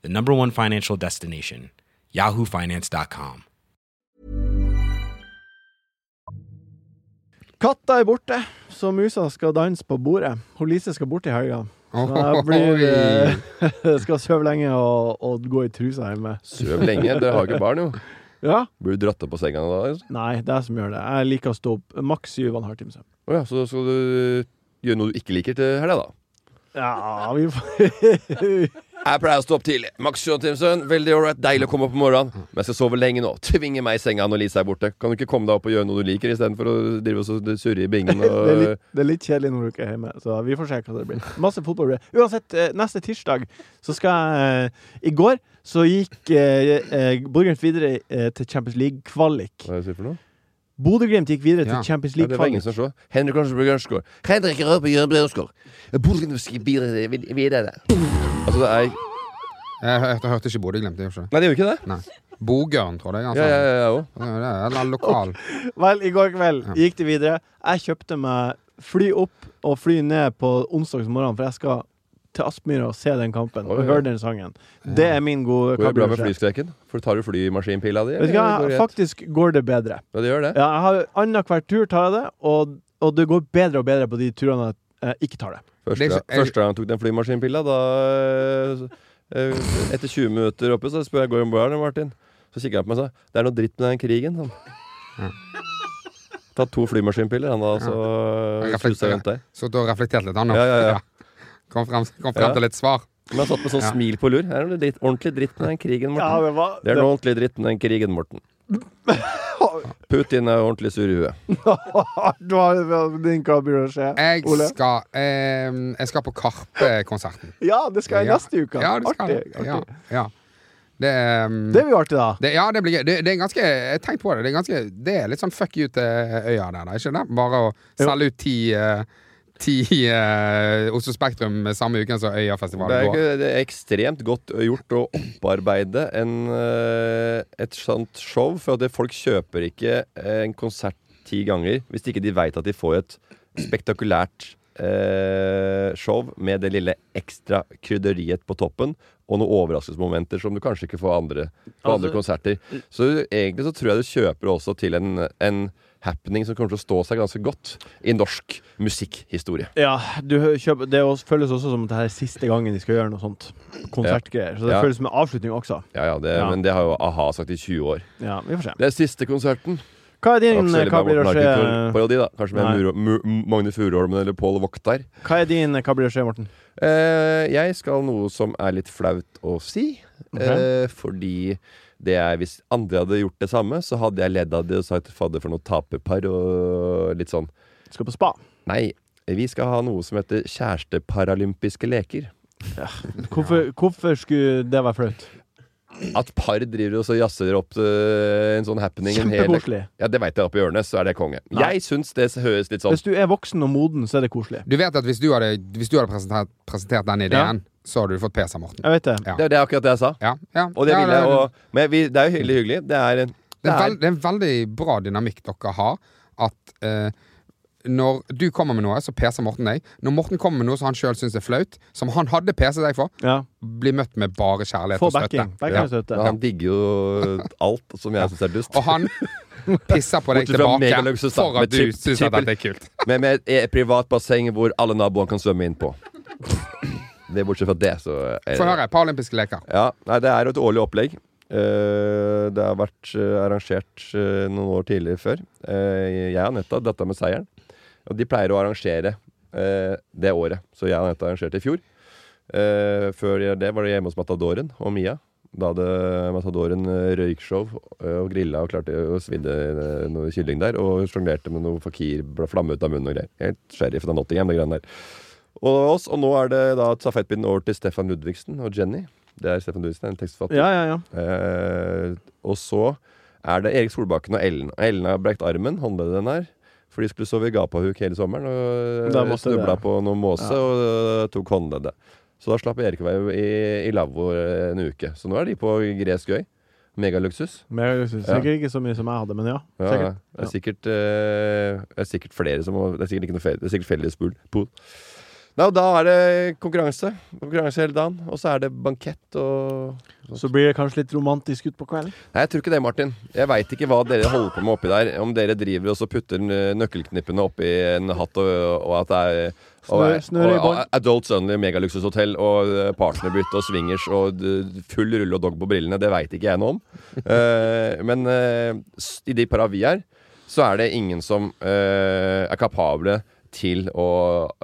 the number one financial destination, yahoofinance.com.
Katta er borte, så musa skal danse på bordet. Hun Lise skal bort i helga. Så jeg blir, eh, skal sove lenge og, og gå i trusa hjemme.
Søv lenge. Dere har ikke barn, jo.
Ja?
Blir du dratt opp på senga da? liksom?
Nei, det er jeg som gjør det. Jeg liker å stå opp maks syv og en halvtime søvn.
Å ja, så da skal du eh, gjøre noe du ikke liker til helga, da?
Ja, vi får
Jeg pleier å stå opp tidlig. Max John Timson, veldig ålreit. Deilig å komme opp om
Mm.
morgenen. Men jeg skal sove lenge nå. Tvinge meg i senga når Lise er borte. Kan du ikke komme deg opp og gjøre noe du liker, istedenfor å drive og så surre i bingen og
det, er litt, det er litt kjedelig når du ikke er hjemme, så vi får se hva det blir. Masse fotball. blir det. Uansett, eh, neste tirsdag så skal jeg eh, I går så gikk eh, eh, Bodø-Glimt videre eh, til Champions League-kvalik.
Hva er det jeg sier for noe?
Bodø-Glimt gikk videre
Ja.
til Champions
Ja, det var ingen
League-kvalik.
som så. Henrik Arnsberg Ørnskog. Henrik Rødby Jørn Bjørnskog. Bodø-Glimt skal bidra videre. Altså, det er
Jeg hørte, hørte ikke Bodø-Glimt, det gjorde ikke det?
Nei, det gjør ikke det.
Nei. Bogørn, tror
Altså,
Ja,
jeg han sa.
ja, ja, jeg òg.
Ja, det er en lokal
Vel, i går kveld gikk det videre. Jeg kjøpte meg fly opp og fly ned på onsdags morgen, for jeg skal til Aspmyra og se den kampen og
Oi, oi.
høre den sangen. Det er min gode
Går det bra med
kablebeskjed.
flyskreken? For tar du flymaskinpila di?
Vet du
eller går
hva,
det greit?
faktisk går det bedre.
Ja, det gjør det.
Ja, jeg har Annenhver tur tar jeg det, og, og det går bedre og bedre på de turene jeg eh, ikke tar det.
Første,
Det er så- Liksom, jeg-
første gang han tok den flymaskinpilla, da eh, Etter 20 minutter oppe, så spør jeg Gorm Bojarn Martin. Så kikker han på meg og sa Det er noe dritt med den krigen. Sånn. Tatt to flymaskinpiller, han da, så
Jeg
eh, suset rundt der.
Så du har reflektert litt, han nå?
Ja, ja, ja.
Kom frem, kom frem
Ja.
til litt svar.
Men han satt med sånn
Ja.
smil på lur. Det er noe dritt, ordentlig dritt med den krigen,
Ja,
Morten.
det var,
Det er noe ordentlig dritt med den krigen, Morten. Putin er ordentlig sur i huet.
Du har din kablebeskjed,
Jeg
Ole.
skal, ehm, jeg skal på Karpe-konserten.
Ja, det skal jeg
Ja.
neste uke.
Ja, det skal
artig.
jeg.
artig.
Ja, ja. Det, ehm,
Det blir jo artig, da.
det, ja, det blir gøy. Det, det er ganske Jeg tenkte på det. Det er, ganske, det er litt sånn fuck you til øya der, da. Ikke det? Bare å selge ut ti, eh, ti eh, Oslo Spektrum samme uken som
Det er,
Øyafestivalen går.
ikke, det er ekstremt godt gjort å opparbeide en, eh, et sånt show, for at det, folk kjøper ikke eh, en konsert ti ganger hvis ikke de veit at de får et spektakulært eh, show med det lille ekstra krydderiet på toppen. Og noen overraskelsesmomenter som du kanskje ikke får andre, på andre konserter. Så egentlig så tror jeg du kjøper også til en, en happening som kommer til å stå seg ganske godt i norsk musikkhistorie.
Ja, du hø- kjøper, det er også- føles også som at det her er siste gangen de skal gjøre noe sånt. Konsertgreier. Så det
Ja.
føles som en avslutning også.
Ja, ja, det,
Ja.
Men det har jo a-ha sagt i 20 år.
Ja, vi får se.
Det er siste konserten.
Hva er din
Absolutt,
kablebeskjed,
Parodi, da. Kanskje med
Nei.
Muro, Mu, Magne Furuholmen eller Pål Voktar.
hva er din kablebeskjed, Morten?
Eh, jeg skal noe som er litt flaut å si.
Ok.
Eh, fordi det er, hvis andre hadde gjort det samme, så hadde jeg ledd av det og sagt 'fadder for noe taperpar' og litt sånn.
Skal på spa.
Nei, vi skal ha noe som heter kjæresteparalympiske leker.
Hvorfor, hvorfor skulle det være flaut?
At par driver og så jazzer opp eh, en sånn happening. en hel-
Kjempekoselig.
Ja, det veit jeg oppe i hjørnet, så er det konge.
Nei.
Jeg syns det høres litt sånn
Hvis du er voksen og moden, så er det koselig.
Du vet at hvis du hadde, hvis du hadde presentert, presentert den ideen, så hadde du fått pes av Morten.
Jeg vet det.
Ja.
Det er det er akkurat det jeg sa.
Ja, ja.
Og det
ja,
vil jeg, og, men vi, det er jo hyggelig, hyggelig. Det er, en-
Det
det
er,
er
veld, det er en veldig bra dynamikk dere har. At eh, når du kommer med noe, så peser Morten deg. Når Morten kommer med noe som han sjøl syns er flaut, som han hadde peset deg for,
Ja.
blir møtt med bare kjærlighet
Få
og støtte.
backing. Backing
Ja.
og støtte.
Han digger jo alt som jeg syns er dust.
Og han pisser på deg
Bortsett fra
tilbake
megaluksus, da,
for
med
at du
tripp-
syns at
trippel-
dette er kult.
Men med et e- privat basseng hvor alle naboene kan svømme inn på. Det er Bortsett fra det, så er
Få
det
høre. Paralympiske leker.
ja, nei, Det er jo et årlig opplegg. Eh, det har vært eh, arrangert eh, noen år tidligere før. Eh, jeg og Anette har datta med seieren. Og de pleier å arrangere eh, det året. Så jeg og Anette arrangerte i fjor. Eh, før det var det hjemme hos Matadoren og Mia. Da hadde Matadoren eh, røykshow eh, og grilla og klarte å svidde eh, noe kylling der. Og sjonglerte med noe fakir, ble flamme ut av munnen og greier. Helt sheriff av Nottingham, det greiene der. Og, oss, og nå er det da stafettpinnen over til Stefan Ludvigsen og Jenny. Det er Stefan Ludvigsen, en tekstforfatter.
Ja, ja, ja.
Eh, og så er det Erik Solbakken og Ellen. Og Ellen har brekt armen, håndleddet den her. For de skulle sove i gapahuk hele sommeren og
Da
eh,
måtte
snubla
det.
på noe måse og eh, tok håndleddet. Så da slapp Erik å være i, i lavvo eh, en uke. Så nå er de på gresk øy. Megaluksus.
Mer, sikkert ikke så mye som jeg hadde, men ja.
Ja,
Sikkert.
Det, er sikkert, eh, det er sikkert flere som har- Det er sikkert ikke noe fel- det er sikkert felles pool. pool. Nei, og da er det konkurranse. Konkurranse hele dagen. Og så er det bankett og
Så blir det kanskje litt romantisk utpå kvelden.
Nei, jeg tror ikke det, Martin. Jeg veit ikke hva dere holder på med oppi der. Om dere driver og så putter n- nøkkelknippene oppi en hatt og, og at det er og,
Snør- snør i
og,
bånd.
Adults Only, megaluksushotell og eh, partnerbytte og swingers og d- full rulle og dog på brillene. Det veit ikke jeg noe om. Eh, men eh, s- i de para vi er, så er det ingen som eh, er kapable til å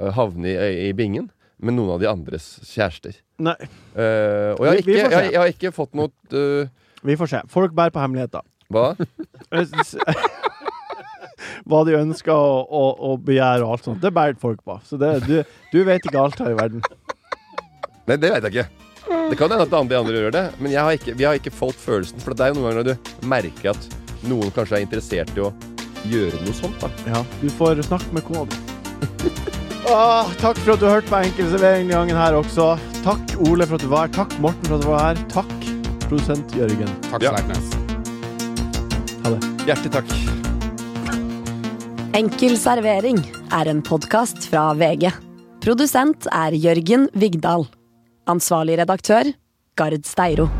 eh, havne i, i bingen med noen av de andres kjærester.
Nei,
Eh, og jeg har,
Vi-
ikke,
vi får se.
jeg, jeg har ikke fått noe eh,
vi får se. Folk bærer på hemmeligheter.
Hva?
Eh, Hva de ønsker å, å, å begjære og alt sånt. Det bærer folk på. Så det, du, du vet ikke alt her i verden.
Nei, det vet jeg ikke. Det kan hende at andre, de andre gjør det, men jeg har ikke, vi har ikke fått følelsen. For det er jo noen ganger når du merker at noen kanskje er interessert i å gjøre noe sånt. da
Ja, du får Ah, snakke med kona di. Åh, takk for at du hørte på Enkel servering denne gangen her også. Takk, Ole, for at du var her. Takk, Morten, for at du var her. Takk, produsent Jørgen.
Takk,
Ja.
Sleipnes.
Ha det.
Hjertelig takk.
Enkel servering er en podkast fra VG. Produsent er Jørgen Vigdal. Ansvarlig redaktør Gard Steiro.